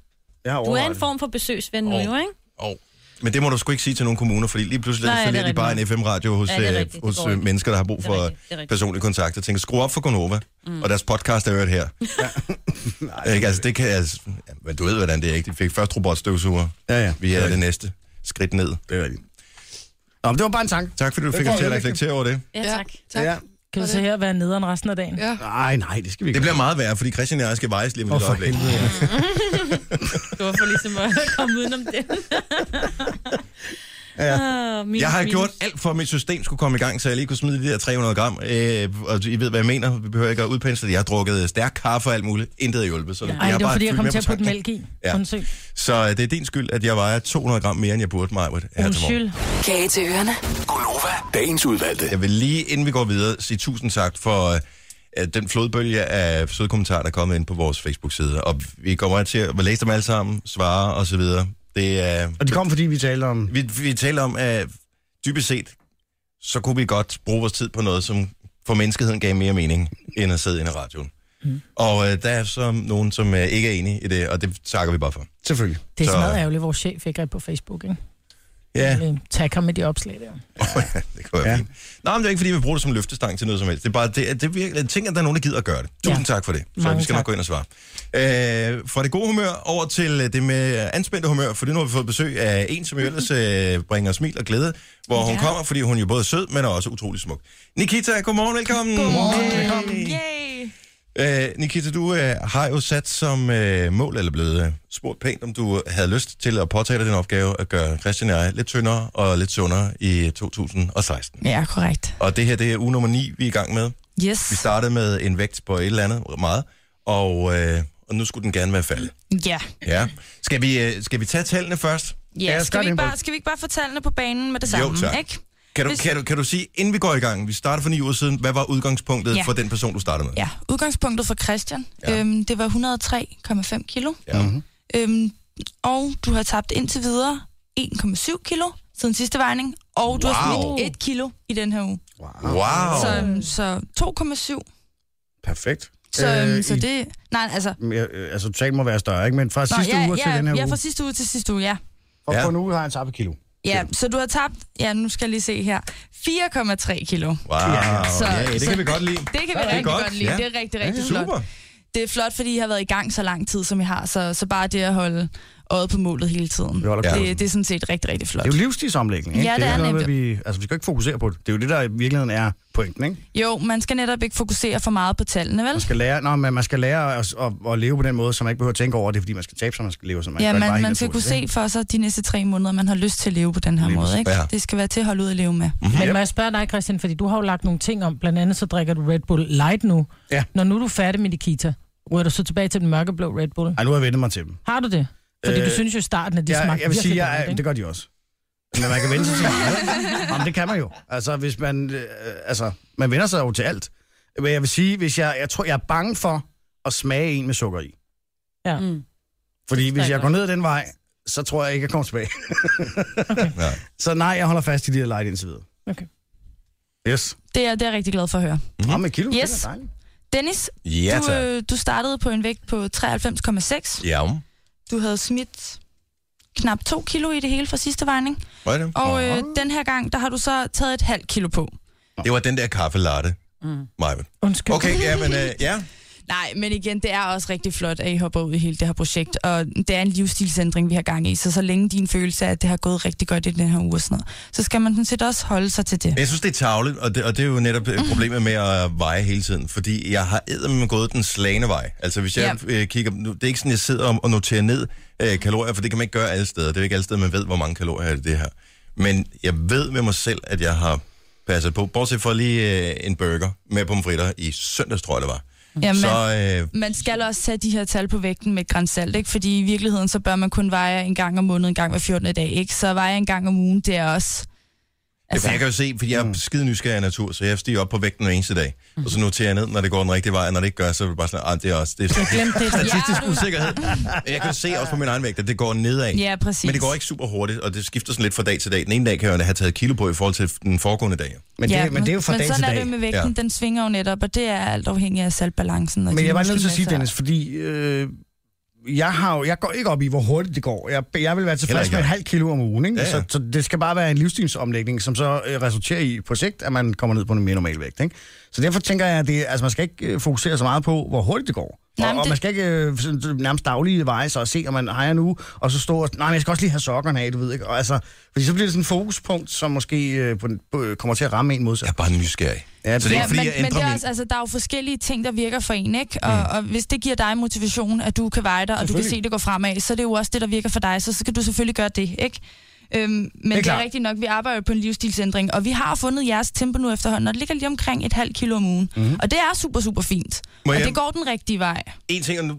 [SPEAKER 3] Jeg har
[SPEAKER 10] Du er
[SPEAKER 3] overvejet
[SPEAKER 10] en
[SPEAKER 3] det.
[SPEAKER 10] form for besøgsven nu,
[SPEAKER 1] Åh.
[SPEAKER 10] jo, ikke?
[SPEAKER 1] Oh. Men det må du sgu ikke sige til nogen kommuner, fordi lige pludselig
[SPEAKER 10] Nej, det er
[SPEAKER 1] installerer de bare en
[SPEAKER 10] rigtigt.
[SPEAKER 1] FM-radio hos,
[SPEAKER 10] Ja, det er
[SPEAKER 1] øh,
[SPEAKER 10] rigtigt. Det
[SPEAKER 1] hos
[SPEAKER 10] går
[SPEAKER 1] øh,
[SPEAKER 10] ikke.
[SPEAKER 1] mennesker, der har brug
[SPEAKER 10] Det er
[SPEAKER 1] for
[SPEAKER 10] rigtigt. Det er rigtigt.
[SPEAKER 1] personlig kontakt. Jeg tænker, skru op for Gonova, mm. og deres podcast er hørt her. Ja. ikke? Altså, det kan, altså, ja, men du ved, hvordan det er, ikke? De fik først robotstøvsuger.
[SPEAKER 3] Ja, ja.
[SPEAKER 1] Vi
[SPEAKER 3] Det
[SPEAKER 1] er
[SPEAKER 3] er
[SPEAKER 1] det næste skridt ned.
[SPEAKER 3] Det er rigtigt. Nå, men det var bare en tanke.
[SPEAKER 1] Tak fordi du fik
[SPEAKER 3] Det
[SPEAKER 1] os til
[SPEAKER 3] var
[SPEAKER 1] at
[SPEAKER 3] vigtigt.
[SPEAKER 1] reflektere over det.
[SPEAKER 10] Ja, tak.
[SPEAKER 4] tak.
[SPEAKER 3] Ja.
[SPEAKER 5] Kan du så her være nederen resten af dagen?
[SPEAKER 4] Ja.
[SPEAKER 3] Nej, nej, det skal vi
[SPEAKER 1] Det
[SPEAKER 3] ikke.
[SPEAKER 1] bliver meget værre, fordi Christian og jeg skal vejes lige om
[SPEAKER 3] Åh,
[SPEAKER 1] et
[SPEAKER 3] for
[SPEAKER 1] øjeblik.
[SPEAKER 3] helvede. ja.
[SPEAKER 2] Det var for ligesom at komme udenom det.
[SPEAKER 3] Ja.
[SPEAKER 10] Ah, min-
[SPEAKER 1] Jeg har
[SPEAKER 10] min-
[SPEAKER 1] gjort alt for, at mit system skulle komme i gang, så jeg lige kunne smide de der 300 gram. Øh, og I ved, hvad jeg mener. Vi behøver ikke at udpensle det. Jeg har drukket stærk kaffe og alt muligt. Intet har hjulpet. Så jeg
[SPEAKER 5] Ej,
[SPEAKER 1] har
[SPEAKER 5] det var
[SPEAKER 1] bare
[SPEAKER 5] fordi, jeg
[SPEAKER 1] fyldt
[SPEAKER 5] kom
[SPEAKER 1] mere
[SPEAKER 5] til at
[SPEAKER 1] tanken.
[SPEAKER 5] putte mælk i.
[SPEAKER 1] Ja.
[SPEAKER 5] Ja. Undskyld.
[SPEAKER 1] Så øh, det er din skyld, at jeg vejer 200 gram mere, end jeg burde mig.
[SPEAKER 5] Undskyld.
[SPEAKER 6] Kage til ørerne.
[SPEAKER 9] Gonova, dagens udvalgte.
[SPEAKER 1] Jeg vil lige, inden vi går videre, sige tusind tak for øh, at den flodbølge af søde kommentarer, der er kommet ind på vores Facebook-side. Og vi kommer til at læse dem alle sammen, svare og så videre. Det er...
[SPEAKER 3] Og det kom, fordi vi talte om...
[SPEAKER 1] Vi, vi taler om, at dybest set, så kunne vi godt bruge vores tid på noget, som for menneskeheden gav mere mening, end at sidde inde i radioen. Mm. Og øh, der er så nogen, som øh, ikke er enige i det, og det takker vi bare for.
[SPEAKER 3] Selvfølgelig.
[SPEAKER 5] Det er
[SPEAKER 1] Så-
[SPEAKER 5] sådan noget ærgerligt, vores chef ikke er på Facebook, ikke?
[SPEAKER 1] Ja,
[SPEAKER 5] Øh, Tag ham med de opslag der.
[SPEAKER 1] det kunne være ja.
[SPEAKER 3] Ja.
[SPEAKER 1] fint. Nå, men det er ikke, fordi vi bruger det som løftestang til noget som helst. Det er bare, det, er- det er virkelig, tænk, at der er nogen, der gider at gøre det. Tusind ja. tak for det. Så
[SPEAKER 5] Mange
[SPEAKER 1] vi skal nok
[SPEAKER 5] tak.
[SPEAKER 1] gå ind og svare. Øh, fra det gode humør over til øh, det med anspændte humør, for nu har vi fået besøg af en, som jo ellers øh, bringer smil og glæde, hvor hun kommer, fordi hun jo både er sød, men er også utrolig smuk. Nikita, godmorgen, velkommen. Godmorgen, velkommen.
[SPEAKER 2] Yay!
[SPEAKER 1] Øh, Nikita, du øh, har jo sat som øh, mål, eller blevet øh, spurgt pænt, om du havde lyst til at påtage dig den opgave at gøre Christian og jeg lidt tyndere og lidt sundere i 2016.
[SPEAKER 5] Ja, korrekt.
[SPEAKER 1] Og det her, det er uge nummer 9, vi er i gang med. Vi
[SPEAKER 10] Yes.
[SPEAKER 1] startede med en vægt på et eller andet meget, og, øh, og nu skulle den gerne være faldet.
[SPEAKER 11] Ja.
[SPEAKER 1] Ja. Skal vi, øh, skal vi tage tallene først?
[SPEAKER 11] Ja,
[SPEAKER 3] skal
[SPEAKER 11] skal, vi ikke
[SPEAKER 3] det.
[SPEAKER 11] bare, skal vi ikke bare få tallene på banen med det
[SPEAKER 1] Jo,
[SPEAKER 11] samme?
[SPEAKER 1] tak.
[SPEAKER 11] Ikke?
[SPEAKER 1] Kan du,
[SPEAKER 11] Hvis-
[SPEAKER 1] kan, du, kan du sige, inden vi går i gang, vi starter for ni uger siden, hvad var udgangspunktet
[SPEAKER 11] Ja.
[SPEAKER 1] for den person, du startede med?
[SPEAKER 11] Ja, udgangspunktet for Christian,
[SPEAKER 1] Ja.
[SPEAKER 11] ja. øhm, det var 103,5 kilo.
[SPEAKER 1] Ja.
[SPEAKER 3] Mhm.
[SPEAKER 1] Mm-hmm.
[SPEAKER 11] Øhm, og du har tabt indtil videre 1,7 kilo siden sidste vejning, og du har
[SPEAKER 1] Wow.
[SPEAKER 11] smidt 1 kilo i den her uge.
[SPEAKER 1] Wow.
[SPEAKER 11] Så, øhm, så 2,7.
[SPEAKER 3] Perfekt.
[SPEAKER 11] Så, øhm,
[SPEAKER 3] Øh,
[SPEAKER 11] så
[SPEAKER 3] i-
[SPEAKER 11] det... Nej, altså...
[SPEAKER 3] Mere, øh, altså, totalt må være større, ikke? Men fra
[SPEAKER 11] Nå,
[SPEAKER 3] sidste
[SPEAKER 11] ja,
[SPEAKER 3] uge
[SPEAKER 11] ja,
[SPEAKER 3] til den her
[SPEAKER 11] ja,
[SPEAKER 3] uge.
[SPEAKER 11] fra sidste uge til sidste uge, ja.
[SPEAKER 3] Og
[SPEAKER 1] Ja.
[SPEAKER 3] på en uge har jeg tabt et kilo.
[SPEAKER 11] Ja, så du har tabt, ja, nu skal jeg lige se her, 4,3 kilo.
[SPEAKER 1] Wow.
[SPEAKER 11] Så-
[SPEAKER 1] Ja, det
[SPEAKER 11] så-
[SPEAKER 1] kan vi godt lide.
[SPEAKER 11] Det kan vi
[SPEAKER 1] er
[SPEAKER 11] rigtig
[SPEAKER 1] godt,
[SPEAKER 11] godt, godt lide.
[SPEAKER 1] ja.
[SPEAKER 11] Ja. Det er rigtig,
[SPEAKER 1] Ja,
[SPEAKER 11] rigtig flot.
[SPEAKER 1] super.
[SPEAKER 11] Det er flot, fordi I har været i gang så lang tid, som I har, så, så bare det at holde øjet på målet hele tiden,
[SPEAKER 3] Vi holder
[SPEAKER 1] Ja.
[SPEAKER 3] kursen.
[SPEAKER 11] det, det er sådan set rigtig, rigtig flot.
[SPEAKER 3] Det er jo livsstilsomlægning, ikke?
[SPEAKER 11] Ja, det
[SPEAKER 3] det er
[SPEAKER 11] er
[SPEAKER 3] ikke noget, med, at vi, altså, vi skal ikke fokusere på det. Det er jo det, der i virkeligheden er pointen, ikke?
[SPEAKER 11] Jo, man skal netop ikke fokusere for meget på tallene,
[SPEAKER 3] Man
[SPEAKER 11] vel?
[SPEAKER 3] skal lære, nå, men man skal lære at, at, at, leve på den måde, så man ikke behøver at tænke over, at det er, fordi man skal tabe sig, man skal leve, så man
[SPEAKER 11] Ja,
[SPEAKER 3] gør det bare
[SPEAKER 11] man,
[SPEAKER 3] helt
[SPEAKER 11] man skal kunne
[SPEAKER 3] naturligt,
[SPEAKER 11] se
[SPEAKER 3] ikke?
[SPEAKER 11] for sig de næste tre måneder, man har lyst til at leve på den her
[SPEAKER 3] Lige Mm.
[SPEAKER 11] måde.
[SPEAKER 1] præcis.
[SPEAKER 11] Ikke?
[SPEAKER 1] Ja.
[SPEAKER 11] Det skal være til at holde ud at leve med.
[SPEAKER 5] Men må jeg spørge dig, Christian, fordi du har jo lagt nogle ting om, blandt andet så drikker du Red Bull Light nu.
[SPEAKER 3] Ja.
[SPEAKER 5] Når nu er du færdig med Nikita, ryger du så tilbage til den mørkeblå Red Bull?
[SPEAKER 3] Ej, nu har jeg vendt mig til dem.
[SPEAKER 5] Har du det? Fordi øh,
[SPEAKER 3] Øh,
[SPEAKER 5] du synes jo, starten af de
[SPEAKER 3] Ja,
[SPEAKER 5] smagte
[SPEAKER 3] jeg vil sige,
[SPEAKER 5] virkelig
[SPEAKER 3] jeg,
[SPEAKER 5] dårligt,
[SPEAKER 3] det
[SPEAKER 5] ikke?
[SPEAKER 3] gør de også. Men man kan vende sig til det. Jamen, det kan man jo. Altså, hvis man, øh, altså, man vender sig jo til alt. Men jeg vil sige, hvis jeg, jeg tror, jeg er bange for at smage en med sukker i.
[SPEAKER 5] Ja.
[SPEAKER 10] Mm.
[SPEAKER 3] Fordi hvis
[SPEAKER 5] jeg
[SPEAKER 3] jeg går ned ad den vej, så tror jeg ikke, jeg kommer tilbage.
[SPEAKER 1] Ja.
[SPEAKER 3] Så nej, jeg holder fast i de her light indtil videre.
[SPEAKER 5] Okay.
[SPEAKER 3] Yes.
[SPEAKER 11] Det er, det er jeg rigtig glad for at høre.
[SPEAKER 3] Mm. Om et kilo,
[SPEAKER 11] Yes.
[SPEAKER 3] det er dejligt.
[SPEAKER 11] Dennis,
[SPEAKER 1] Ja,
[SPEAKER 11] du,
[SPEAKER 1] tak.
[SPEAKER 11] øh, du startede på en vægt på 93,6.
[SPEAKER 1] Ja, um.
[SPEAKER 11] Du havde smidt knap 2 kilo i det hele fra sidste vejning.
[SPEAKER 1] Var det?
[SPEAKER 11] Og øh, den her gang, der har du så taget et halvt kilo på.
[SPEAKER 1] Det var den der kaffe latte.
[SPEAKER 10] Mm.
[SPEAKER 1] Maja.
[SPEAKER 5] Undskyld.
[SPEAKER 1] Okay, ja, men øh, ja.
[SPEAKER 11] Nej, men igen, det er også rigtig flot, at I hopper ud i hele det her projekt, og det er en livsstilsændring, vi har gang i, så så længe din følelse er, at det har gået rigtig godt i den her uge og sådan noget, så skal man sådan set også holde sig til det.
[SPEAKER 1] Jeg synes, det er tavligt, og det, og det er jo netop øh, problemet med at veje hele tiden, fordi jeg har eddermame gået den slagende vej. Altså, hvis jeg øh, kigger... Nu, det er ikke sådan, jeg sidder og, og noterer ned øh, kalorier, for det kan man ikke gøre alle steder. Det er jo ikke alle steder, man ved, hvor mange kalorier er det, det her. Men jeg ved med mig selv, at jeg har passet på. Bortset fra lige øh, en burger med pomfritter i søndags, tror jeg, det var.
[SPEAKER 11] Jamen,
[SPEAKER 1] Så øh,
[SPEAKER 11] man skal også tage de her tal på vægten med et grænsalt, ikke? fordi i virkeligheden, så bør man kun veje en gang om måneden, en gang hver 14. dag, ikke? så veje en gang om ugen, det er også...
[SPEAKER 1] Altså. Jeg kan jo se, fordi jeg er skide nysgerrig af natur, så jeg stiger op på vægten hver eneste dag. Og så noterer jeg ned, når det går den rigtige vej, og når det ikke gør, så er det bare sådan, at det er også det er sådan,
[SPEAKER 5] Glem det.
[SPEAKER 1] statistisk usikkerhed. Men jeg kan jo se også på min egen vægt, at det går nedad.
[SPEAKER 11] Ja, præcis.
[SPEAKER 1] Men det går ikke super hurtigt, og det skifter sådan lidt fra dag til dag. Den ene dag kan jeg jo have taget kilo på i forhold til den foregående dag.
[SPEAKER 3] Men, det, men det er jo fra
[SPEAKER 11] men
[SPEAKER 3] dag til
[SPEAKER 11] sådan er
[SPEAKER 3] dag.
[SPEAKER 11] det med vægten,
[SPEAKER 1] Ja.
[SPEAKER 11] ja. den svinger jo netop, og det er alt afhængig af saltbalancen. Og
[SPEAKER 3] Men
[SPEAKER 11] din
[SPEAKER 3] jeg var nødt til at sige,
[SPEAKER 11] muskelmasse.
[SPEAKER 3] Dennis, fordi øh, jeg, har jo, jeg går ikke op i, hvor hurtigt det går. Jeg, jeg vil være
[SPEAKER 1] Heller
[SPEAKER 3] tilfreds
[SPEAKER 1] ikke
[SPEAKER 3] med et
[SPEAKER 1] jeg.
[SPEAKER 3] halvt kilo om ugen. Ikke? Altså,
[SPEAKER 1] Ja, ja.
[SPEAKER 3] Så, så det skal bare være en livsstilsomlægning, som så øh, resulterer i på sigt, at man kommer ned på en mere normal vægt. Ikke? Så derfor tænker jeg, at det, altså, man skal ikke øh, fokusere så meget på, hvor hurtigt det går. Nej, og, og man skal ikke øh, sådan, nærmest daglige veje så at se, om man ejer nu, og så stå og, nej, men jeg skal også lige have sokkerne af, du ved ikke. Og, altså, fordi så bliver det sådan et fokuspunkt, som måske øh, på, den- på, øh, kommer til at ramme en modsat. Jeg er
[SPEAKER 1] bare nysgerrig.
[SPEAKER 3] Ja,
[SPEAKER 1] Så det er ikke, fordi
[SPEAKER 11] men,
[SPEAKER 1] jeg
[SPEAKER 11] men
[SPEAKER 1] ændrer Mm.
[SPEAKER 11] det er
[SPEAKER 1] min-
[SPEAKER 11] også, altså, der er jo forskellige ting, der virker for en, ikke? Og, og hvis det giver dig motivation, at du kan veje dig, og du kan se,
[SPEAKER 12] Selvfølgelig.
[SPEAKER 11] det går fremad, så er det jo også det, der virker for dig, så skal du selvfølgelig gøre det, ikke? Øhm, men det er, det er
[SPEAKER 12] klart.
[SPEAKER 11] rigtigt nok, vi arbejder jo på en livsstilsændring, og vi har fundet jeres tempo nu efterhånden, og det ligger lige omkring et halvt kilo om ugen.
[SPEAKER 1] Mhm.
[SPEAKER 11] Mm-hmm. Og det er super, super fint.
[SPEAKER 1] Må
[SPEAKER 11] og
[SPEAKER 1] jeg-
[SPEAKER 11] det går den rigtige vej.
[SPEAKER 1] En ting, og nu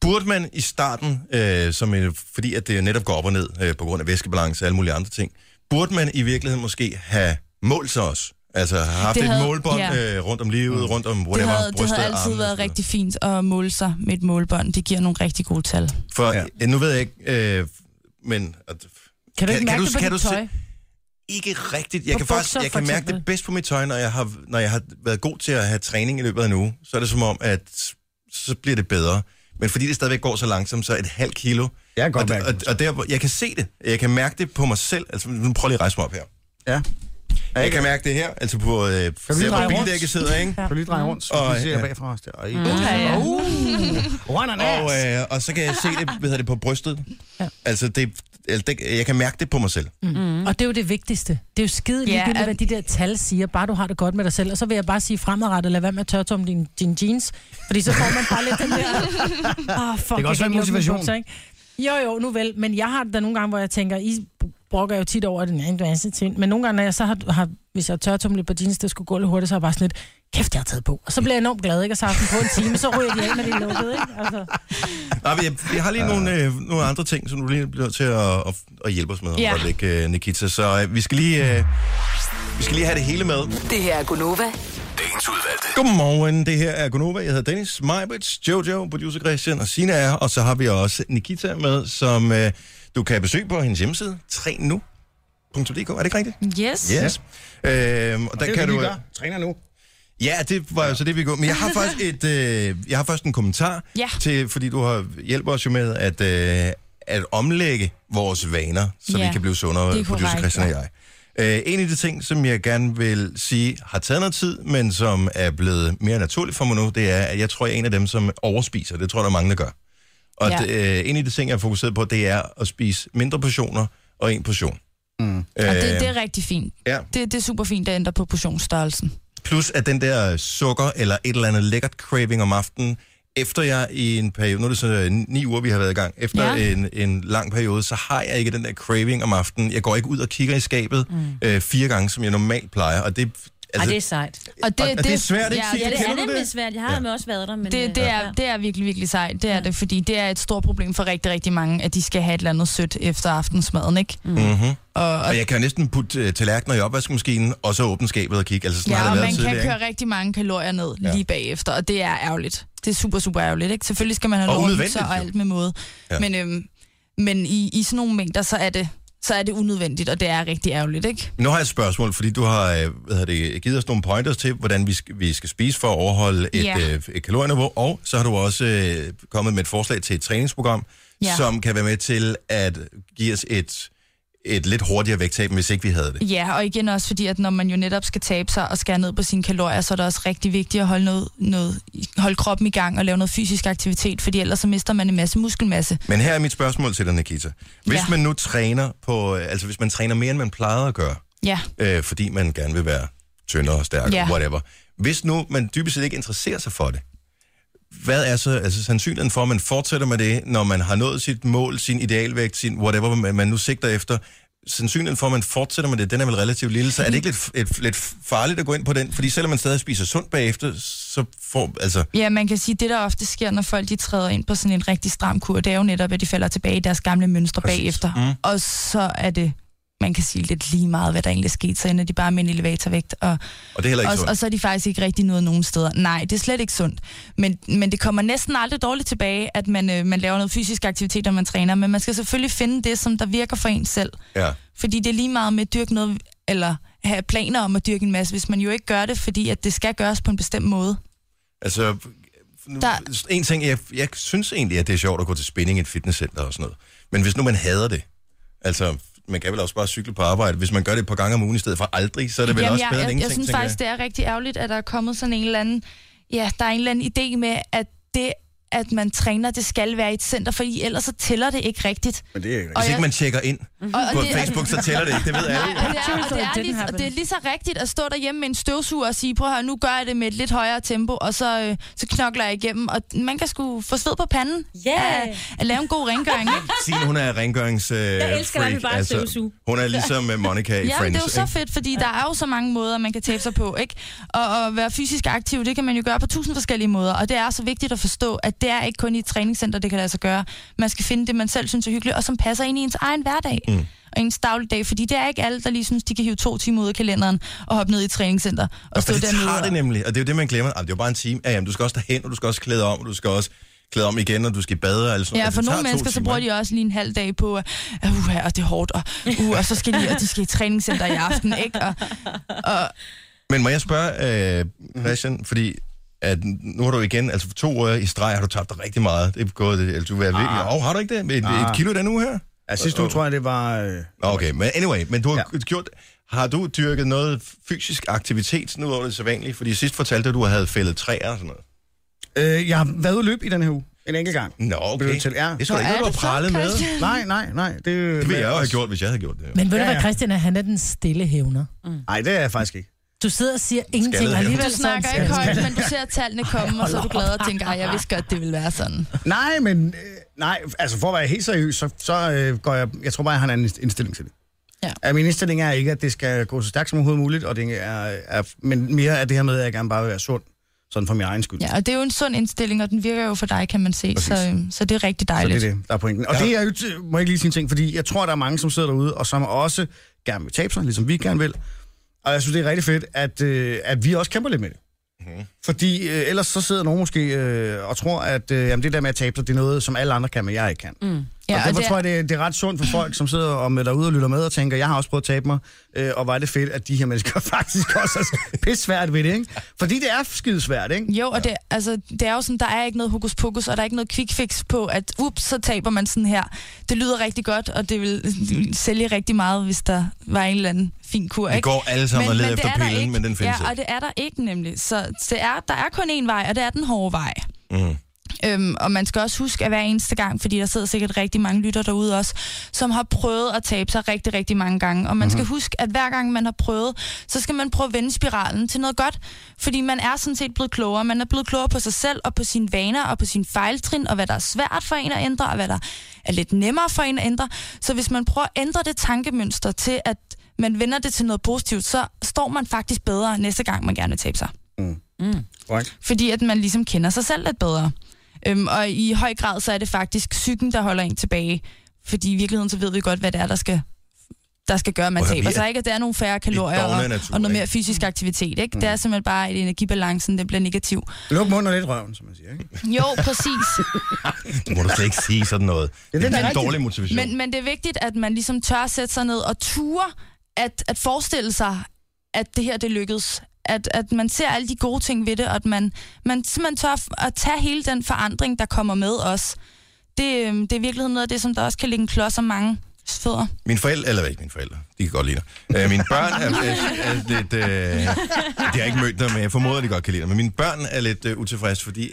[SPEAKER 1] burde man i starten, øh, som, øh, fordi at det jo netop går op og ned øh, på grund af væskebalance og alle mulige andre ting, burde man i virkeligheden måske have målt sig også? Altså have haft
[SPEAKER 11] Det
[SPEAKER 1] et
[SPEAKER 11] havde-
[SPEAKER 1] målbånd
[SPEAKER 11] ja. Mm.
[SPEAKER 1] øh, rundt om livet, rundt om whatever,
[SPEAKER 11] det havde, det
[SPEAKER 1] brystet,
[SPEAKER 11] havde altid
[SPEAKER 1] armene.
[SPEAKER 11] været rigtig fint at måle sig med et målbånd. Det giver nogle rigtig gode tal.
[SPEAKER 1] For ja. nu ved jeg ikke, øh, men... At,
[SPEAKER 11] Kan du ikke mærke det på dit
[SPEAKER 1] se-
[SPEAKER 11] tøj?
[SPEAKER 1] Ikke rigtigt. Jeg
[SPEAKER 11] På
[SPEAKER 1] kan faktisk
[SPEAKER 11] bukser,
[SPEAKER 1] jeg
[SPEAKER 11] for
[SPEAKER 1] kan mærke
[SPEAKER 11] eksempel.
[SPEAKER 1] det bedst på mit tøj, når jeg, har, når jeg har været god til at have træning i løbet af en uge. Så er det som om, at så bliver det bedre. Men fordi det stadigvæk går så langsomt, så et halvt kilo.
[SPEAKER 3] Jeg kan
[SPEAKER 1] godt og, mærke og, og der, hvor- jeg kan se det. Jeg kan mærke det på mig selv. Altså, nu prøv lige at rejse mig op her.
[SPEAKER 3] Ja.
[SPEAKER 1] Jeg kan mærke det her, altså på, øh,
[SPEAKER 3] Kan du
[SPEAKER 1] ser,
[SPEAKER 3] lige
[SPEAKER 1] hvor
[SPEAKER 3] dreje rundt?
[SPEAKER 1] bildækket sidder, ikke?
[SPEAKER 3] Kan du lige dreje rundt, så
[SPEAKER 1] Og,
[SPEAKER 3] vi ser
[SPEAKER 1] ja.
[SPEAKER 3] bagfra os der. Og,
[SPEAKER 1] Mm.
[SPEAKER 3] ja.
[SPEAKER 1] Ja.
[SPEAKER 3] Uh,
[SPEAKER 1] Og, øh, og så kan jeg se det, hvad hedder det på brystet. Ja. Altså, det, altså det, jeg kan mærke det på mig selv.
[SPEAKER 12] Mm. Og det er jo det vigtigste. Det er jo skide
[SPEAKER 5] Ja,
[SPEAKER 12] ligegyldigt,
[SPEAKER 5] at-
[SPEAKER 12] hvad de der tal siger. Bare du har det godt med dig selv. Og så vil jeg bare sige fremadrettet, lad være med at tørre om din, din jeans. Fordi så får man bare lidt den der... Ah, fuck,
[SPEAKER 5] Det kan
[SPEAKER 12] jeg
[SPEAKER 5] også være
[SPEAKER 12] ikke åbne
[SPEAKER 5] motivation.
[SPEAKER 12] bukser, ikke? Jo, jo, nu vel. Men jeg har det da nogle gange, hvor jeg tænker, I brokker jo tit over, at den er en masse ting. Men nogle gange, når jeg så har, har hvis jeg tør lidt på jeans, det skulle gå lidt hurtigt, så er jeg bare sådan lidt, kæft, jeg har taget på. Og så bliver jeg enormt glad, ikke? Og så har jeg haft den på en time, så ryger de af, når det er lukket, ikke? Altså.
[SPEAKER 1] Nej, men jeg, jeg har lige nogle, øh, nogle andre ting, som du lige bliver nødt til at, at, at hjælpe os med.
[SPEAKER 6] Ja.
[SPEAKER 1] Ja. Ikke, Nikita. Så øh, vi, skal lige, øh, vi skal lige have det hele med.
[SPEAKER 6] Det her er Gunova.
[SPEAKER 9] Dagens udvalgte.
[SPEAKER 1] Godmorgen, det her er Gunova. Jeg hedder Dennis Majbrits, Jojo, producer Christian og Sina er her. Og så har vi også Nikita med, som øh, du kan besøge på hendes hjemmede, trænu.dk. Er det ikke rigtigt?
[SPEAKER 11] Yes.
[SPEAKER 1] Yes. Øhm, og, og der
[SPEAKER 3] det er
[SPEAKER 1] kan
[SPEAKER 3] det,
[SPEAKER 1] du...
[SPEAKER 3] vi gør. Træner nu.
[SPEAKER 1] Ja, det var jo så det, vi går. Men jeg har faktisk, et, øh, jeg har faktisk en kommentar,
[SPEAKER 11] Ja.
[SPEAKER 1] til, fordi du har hjælper os jo med at, øh, at omlægge vores vaner, så
[SPEAKER 11] Ja,
[SPEAKER 1] vi kan blive sundere,
[SPEAKER 11] det er
[SPEAKER 1] producer
[SPEAKER 11] korrekt,
[SPEAKER 1] Christian og
[SPEAKER 11] ja.
[SPEAKER 1] jeg. Øh, en af de ting, som jeg gerne vil sige, har taget noget tid, men som er blevet mere naturligt for mig nu, det er, at jeg tror, jeg er en af dem, som overspiser. Det tror jeg, der er mange, der gør. Og
[SPEAKER 13] Ja.
[SPEAKER 1] ja. det, øh, en af de ting, jeg er fokuseret på, det er at spise mindre portioner og en portion. Mm. Øh,
[SPEAKER 11] Og det, det er rigtig fint.
[SPEAKER 1] Ja.
[SPEAKER 11] Det, det er super fint at ændre på portionsstørrelsen.
[SPEAKER 1] Plus at den der sukker eller et eller andet lækkert craving om aftenen, efter jeg i en periode, nu er det så øh, ni uger, vi har været i gang, efter
[SPEAKER 13] Ja.
[SPEAKER 1] ja. en, en lang periode, så har jeg ikke den der craving om aftenen. Jeg går ikke ud og kigger i skabet mm. øh, fire gange, som jeg normalt plejer. Og det, altså,
[SPEAKER 2] Ej, det er sejt.
[SPEAKER 11] Og
[SPEAKER 1] Og- og det er svært, ikke, Signe?
[SPEAKER 2] Ja, det
[SPEAKER 1] Kender
[SPEAKER 2] er
[SPEAKER 1] du
[SPEAKER 2] nemlig
[SPEAKER 1] det?
[SPEAKER 2] svært. Jeg har ja. også været der, men... øh,
[SPEAKER 11] Det, det, er,
[SPEAKER 2] ja.
[SPEAKER 11] det er virkelig, virkelig sejt. Det er det, fordi det er et stort problem for rigtig, rigtig mange, at de skal have et eller andet sødt efter aftensmaden, ikke?
[SPEAKER 1] Mm-hmm.
[SPEAKER 11] Og,
[SPEAKER 1] Og jeg kan jo næsten putte øh, tallerkener i opvaskemaskinen, og så åbne skabet og kigge. Altså, sådan har det
[SPEAKER 11] Ja, og
[SPEAKER 1] været
[SPEAKER 11] man kan
[SPEAKER 1] tidligere, ikke?
[SPEAKER 11] køre rigtig mange kalorier ned
[SPEAKER 1] Ja.
[SPEAKER 11] ja. lige bagefter, og det er ærgerligt. Det er super, super ærgerligt, ikke? Selvfølgelig skal man have
[SPEAKER 1] Og
[SPEAKER 11] lov at hygge
[SPEAKER 1] unødvendigt,
[SPEAKER 11] sig og
[SPEAKER 1] jo.
[SPEAKER 11] alt med måde.
[SPEAKER 1] Ja.
[SPEAKER 11] Ja. Men, øhm, men i, i sådan nogle mængder, så er det så er det unødvendigt, og det er rigtig ærgerligt, ikke?
[SPEAKER 1] Nu har jeg et spørgsmål, fordi du har øh, hvad hedder det, givet os nogle pointers til, hvordan vi skal, vi skal spise for at overholde et,
[SPEAKER 11] Ja.
[SPEAKER 1] yeah. øh, et kalorieniveau, og så har du også øh, kommet med et forslag til et træningsprogram,
[SPEAKER 11] Ja.
[SPEAKER 1] yeah. som kan være med til at give os et, et lidt hurtigere vægttab, hvis ikke vi havde det.
[SPEAKER 11] Ja, og igen også fordi, at når man jo netop skal tabe sig og skære ned på sine kalorier, så er det også rigtig vigtigt at holde, noget, noget, holde kroppen i gang og lave noget fysisk aktivitet, fordi ellers så mister man en masse muskelmasse.
[SPEAKER 1] Men her er mit spørgsmål til dig, Nikita. Hvis
[SPEAKER 11] Ja.
[SPEAKER 1] man nu træner på, øh, altså hvis man træner mere, end man plejede at gøre,
[SPEAKER 11] Ja.
[SPEAKER 1] øh, fordi man gerne vil være tyndere og stærkere,
[SPEAKER 11] Ja.
[SPEAKER 1] yeah. whatever. Hvis nu man dybest set ikke interesserer sig for det, hvad er så altså, sandsynligheden for, at man fortsætter med det, når man har nået sit mål, sin idealvægt, sin whatever, man, man nu sigter efter? Sandsynligheden for, at man fortsætter med det, den er vel relativt lille, så er det ikke lidt, et, lidt farligt at gå ind på den? Fordi selvom man stadig spiser sundt bagefter, så får... Altså,
[SPEAKER 11] Ja, man kan sige, at det, der ofte sker, når folk de træder ind på sådan en rigtig stram kur, det er jo netop, at de falder tilbage i deres gamle mønstre
[SPEAKER 1] Præcis.
[SPEAKER 11] bagefter.
[SPEAKER 1] Mm.
[SPEAKER 11] Og så er det, man kan sige lidt lige meget, hvad der egentlig er sket, så ender de bare med en elevatorvægt. Og,
[SPEAKER 1] og det er heller ikke
[SPEAKER 11] og, og
[SPEAKER 1] sundt.
[SPEAKER 11] så er de faktisk ikke rigtig noget nogen steder. Nej, det er slet ikke sundt. Men, men det kommer næsten aldrig dårligt tilbage, at man, øh, man laver noget fysisk aktivitet, og man træner. Men man skal selvfølgelig finde det, som der virker for en selv.
[SPEAKER 1] Ja.
[SPEAKER 11] Fordi det er lige meget med at dyrke noget, eller have planer om at dyrke en masse, hvis man jo ikke gør det, fordi at det skal gøres på en bestemt måde.
[SPEAKER 1] Altså, nu,
[SPEAKER 11] Der-
[SPEAKER 1] en ting, jeg, jeg synes egentlig, at det er sjovt at gå til spinning i et fitnesscenter og sådan noget. Men hvis nu man hader det, altså, man kan vel også bare cykle på arbejde. Hvis man gør det et par gange om ugen i stedet for aldrig, så er det vel også
[SPEAKER 11] jeg,
[SPEAKER 1] bedre end
[SPEAKER 11] jeg, Jeg
[SPEAKER 1] ingenting,
[SPEAKER 11] synes
[SPEAKER 1] tænker
[SPEAKER 11] faktisk, det er rigtig ærgerligt, at der er kommet sådan en eller anden... Ja, der er en eller anden idé med, at det at man træner, det skal være i et center, fordi ellers så tæller det ikke rigtigt.
[SPEAKER 12] Mhm.
[SPEAKER 3] Men det er ikke
[SPEAKER 1] Hvis ikke man tjekker ind
[SPEAKER 11] Mhm. Og- og
[SPEAKER 1] på
[SPEAKER 11] det er-
[SPEAKER 1] Facebook, så tæller det ikke, det ved alle.
[SPEAKER 11] Nej, og det er, og det,
[SPEAKER 12] It
[SPEAKER 11] er
[SPEAKER 12] didn't
[SPEAKER 11] lige, og
[SPEAKER 12] happen.
[SPEAKER 11] det er lige så rigtigt at stå derhjemme med en støvsuger og sige, prøv at høre, nu gør jeg det med et lidt højere tempo, og så, øh, så knokler jeg igennem. Og man kan sgu få sved på panden yeah. at, at lave en god rengøring. ikke?
[SPEAKER 1] Signe, hun er rengørings øh,
[SPEAKER 11] Jeg elsker,
[SPEAKER 1] freak,
[SPEAKER 11] at vi bare støvsuger.
[SPEAKER 1] Hun er ligesom øh, Monica i
[SPEAKER 11] ja,
[SPEAKER 1] Friends.
[SPEAKER 11] det er jo så
[SPEAKER 1] ikke?
[SPEAKER 11] fedt, fordi der er jo så mange måder, man kan tabe sig på, ikke? Og at være fysisk aktiv, det kan man jo gøre på tusind forskellige måder, og det er så vigtigt at forstå, at det er ikke kun i et træningscenter, det kan lade sig gøre. Man skal finde det, man selv synes er hyggeligt, og som passer ind i ens egen hverdag. Mm. Og ens dagligdag, fordi det er ikke alle, der lige synes, de kan hive to timer ud af kalenderen og hoppe ned i et træningscenter og,
[SPEAKER 1] Og
[SPEAKER 11] stå
[SPEAKER 1] for det
[SPEAKER 11] dernede.
[SPEAKER 1] tager det nemlig, og det er jo det, man glemmer. Jamen, det er jo bare en time. Ja, jamen, du skal også derhen, og du skal også klæde om, og du skal også klæde om igen, og du skal i bade og alt sådan
[SPEAKER 11] Ja,
[SPEAKER 1] noget.
[SPEAKER 11] for
[SPEAKER 1] Det
[SPEAKER 11] nogle
[SPEAKER 1] Altså, tager to
[SPEAKER 11] mennesker, så
[SPEAKER 1] timer,
[SPEAKER 11] bruger
[SPEAKER 1] ikke?
[SPEAKER 11] de også lige en halv dag på, øh, uh, og det er hårdt, og, uh, og så skal de, og de skal i træningscenter i aften, ikke? Og, og,
[SPEAKER 1] Men må jeg spørge, øh, Christian, fordi at nu har du igen, altså for to år i streg, har du tabt dig rigtig meget. Det er gået, det- altså, du er virkelig... Åh,
[SPEAKER 3] Ah.
[SPEAKER 1] oh, har du ikke det? Et,
[SPEAKER 3] Ah.
[SPEAKER 1] et kilo den uge her?
[SPEAKER 3] Ja, sidste uge tror jeg, det var... Øh...
[SPEAKER 1] Okay, men anyway, men du har ja. gjort... Har du dyrket noget fysisk aktivitet, nu over det så vanligt? Fordi sidst fortalte du, at du havde fældet træer og sådan noget.
[SPEAKER 3] Øh, jeg har været ude løb i den her uge. En enkelt gang.
[SPEAKER 1] Nå, okay.
[SPEAKER 3] Blev det til, ja.
[SPEAKER 1] Det skulle da ikke Hvor er noget, du har det så, prallet med. Christian?
[SPEAKER 3] Nej, nej, nej. Det,
[SPEAKER 1] Det ville jeg jo have gjort, hvis jeg havde gjort det. jo.
[SPEAKER 5] Men ved du hvad, Christian er? Han er den stille hævner.
[SPEAKER 3] Nej, det er jeg faktisk ikke.
[SPEAKER 5] Du sidder og siger ingenting,
[SPEAKER 3] Skaldet
[SPEAKER 5] og alligevel
[SPEAKER 11] Du
[SPEAKER 5] så er han
[SPEAKER 11] snakker ikke
[SPEAKER 5] skaldet.
[SPEAKER 11] højt, men du ser tallene komme, og så er du glad og tænker, "Ej, jeg vidste godt, det ville være sådan.
[SPEAKER 3] Nej, men... Øh, nej, altså for at være helt seriøs, så, så øh, går jeg... Jeg tror bare, jeg har en anden indstilling til det.
[SPEAKER 11] Ja.
[SPEAKER 3] At min indstilling er ikke, at det skal gå så stærkt som overhovedet muligt, og det er, er, men mere af det her med, at jeg gerne bare vil være sund, sådan for min egen skyld.
[SPEAKER 11] Ja, og det er jo en sund indstilling, og den virker jo for dig, kan man se, så, øhm, så det er rigtig
[SPEAKER 3] Så det er
[SPEAKER 11] dejligt.
[SPEAKER 3] det, der er pointen. Og
[SPEAKER 11] Ja.
[SPEAKER 3] ja. det er jo, t- må jeg ikke lige sige en ting, fordi jeg tror, der er mange, som sidder derude, og som også gerne vil tabe sig, ligesom vi gerne vil. Og jeg synes, det er rigtig fedt, at, øh, at vi også kæmper lidt med det.
[SPEAKER 11] Mhm.
[SPEAKER 3] Mm-hmm. Fordi øh, ellers så sidder nogen måske øh, og tror, at øh, jamen, det der med at tabe sig, det er noget, som alle andre kan, men jeg ikke kan.
[SPEAKER 11] Mm.
[SPEAKER 3] Ja, og derfor
[SPEAKER 11] det er-
[SPEAKER 3] tror jeg, det er, det er ret sundt for folk, som sidder og med derude og lytter med og tænker, jeg har også prøvet at tabe mig, øh, og var det fedt, at de her mennesker faktisk også er pisse svært ved det, ikke? Fordi det er skidesvært, ikke?
[SPEAKER 11] Jo, og det, altså, det er jo sådan, der er ikke noget hokus pokus, og der er ikke noget quick fix på, at ups, så taber man sådan her. Det lyder rigtig godt, og det vil øh, sælge rigtig meget, hvis der var en eller anden fin kur.
[SPEAKER 1] Vi
[SPEAKER 11] ikke?
[SPEAKER 1] går alle sammen og leder
[SPEAKER 11] det
[SPEAKER 1] efter
[SPEAKER 11] er der
[SPEAKER 1] pillen,
[SPEAKER 11] ikke.
[SPEAKER 1] men den findes
[SPEAKER 11] Ja,
[SPEAKER 1] ikke.
[SPEAKER 11] og det er der ikke nemlig. Så det er, der er kun én vej, og det er den hårde vej.
[SPEAKER 1] Mm.
[SPEAKER 11] Øhm, og man skal også huske at hver eneste gang, fordi der sidder sikkert rigtig mange lytter derude også, som har prøvet at tabe sig rigtig, rigtig mange gange. Og man skal
[SPEAKER 13] Mhm.
[SPEAKER 11] huske, at hver gang man har prøvet, så skal man prøve at vende spiralen til noget godt. Fordi man er sådan set blevet klogere. Man er blevet klogere på sig selv og på sine vaner og på sine fejltrin, og hvad der er svært for en at ændre, og hvad der er lidt nemmere for en at ændre. Så hvis man prøver at ændre det tankemønster til, at man vender det til noget positivt, så står man faktisk bedre næste gang, man gerne vil tabe sig
[SPEAKER 13] Mm.
[SPEAKER 3] Right.
[SPEAKER 11] fordi at man ligesom kender sig selv lidt bedre. Øhm, og i høj grad, så er det faktisk psyken, der holder en tilbage. Fordi i virkeligheden, så ved vi godt, hvad det er, der skal, der skal gøre, at man
[SPEAKER 13] Prøv at høre,
[SPEAKER 11] taber
[SPEAKER 13] vi
[SPEAKER 11] sig.
[SPEAKER 13] er-
[SPEAKER 11] Ikke? At der er nogle færre kalorier
[SPEAKER 13] dovne
[SPEAKER 11] og,
[SPEAKER 13] af natur,
[SPEAKER 11] og noget mere
[SPEAKER 13] ikke? Mm.
[SPEAKER 11] fysisk aktivitet. Ikke? Det er simpelthen bare, at energibalancen den bliver negativ.
[SPEAKER 3] Luk munden og lidt røven, som man siger, ikke?
[SPEAKER 11] Jo, præcis.
[SPEAKER 1] Det må du slet ikke sige sådan noget.
[SPEAKER 3] Ja,
[SPEAKER 1] det,
[SPEAKER 3] det er
[SPEAKER 1] det er en
[SPEAKER 3] rigtigt.
[SPEAKER 1] dårlig motivation.
[SPEAKER 11] Men, men det er vigtigt, at man ligesom tør at sætte sig ned og ture at, at forestille sig, at det her det lykkedes. At, at man ser alle de gode ting ved det, og at man, man simpelthen tør f- at tage hele den forandring, der kommer med os. Det, øhm, det er i virkeligheden noget af det, som der også kan ligge en klods om mange fødder.
[SPEAKER 1] Mine forældre, eller ikke mine forældre, de kan godt lide dig. Øh, mine børn er, er, er lidt... Øh, de har ikke mødt dig, men jeg formoder, de godt kan lide dig. Men mine børn er lidt øh, utilfredse, fordi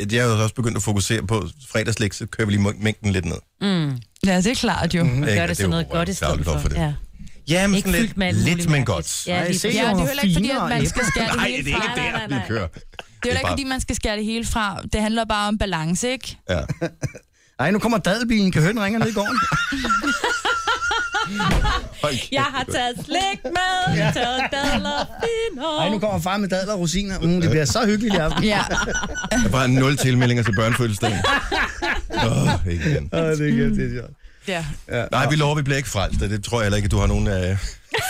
[SPEAKER 1] at jeg har jo også begyndt at fokusere på fredagslæg, så kører vi lige mæng- mængden lidt ned.
[SPEAKER 10] Mm.
[SPEAKER 11] Ja, det er klart jo.
[SPEAKER 1] Mhm. Ikke,
[SPEAKER 10] Man gør
[SPEAKER 1] det er
[SPEAKER 10] det sådan
[SPEAKER 1] jo
[SPEAKER 10] noget godt i
[SPEAKER 1] røvsavlet
[SPEAKER 10] stedet for.
[SPEAKER 1] for det.
[SPEAKER 10] Ja.
[SPEAKER 1] Ja, men
[SPEAKER 10] Ikke
[SPEAKER 1] sådan
[SPEAKER 10] fyldt med alt
[SPEAKER 1] lidt, lidt
[SPEAKER 10] muligt
[SPEAKER 1] men
[SPEAKER 10] mærkeligt.
[SPEAKER 1] godt.
[SPEAKER 10] Ja, lige
[SPEAKER 11] Ja, det er jo heller ikke fordi, at man skal skære det
[SPEAKER 1] Nej,
[SPEAKER 11] hele
[SPEAKER 1] det er
[SPEAKER 11] fra.
[SPEAKER 1] ikke
[SPEAKER 11] Nej, nej,
[SPEAKER 1] der, vi
[SPEAKER 11] nej.
[SPEAKER 1] kører.
[SPEAKER 11] Det er jo heller ikke, fordi man skal skære det hele fra. Det handler bare om balance, ikke?
[SPEAKER 1] Ja.
[SPEAKER 3] Ej, nu kommer dadelbilen. Kan høn ringer ned i gården?
[SPEAKER 10] Jeg har taget slik med, ja. taget dadler fino.
[SPEAKER 3] Ej, nu kommer far med dadler og rosiner. Mm, det bliver så hyggeligt i aften.
[SPEAKER 11] Ja.
[SPEAKER 1] Der er bare nul tilmeldinger til børnefødselsdagen. Åh, ikke igen.
[SPEAKER 3] Åh, det er kæft, det er sjovt.
[SPEAKER 11] Ja.
[SPEAKER 1] Ja. Nej, vi lover, vi bliver ikke frelst. og Det tror jeg heller ikke, at du har nogen øh,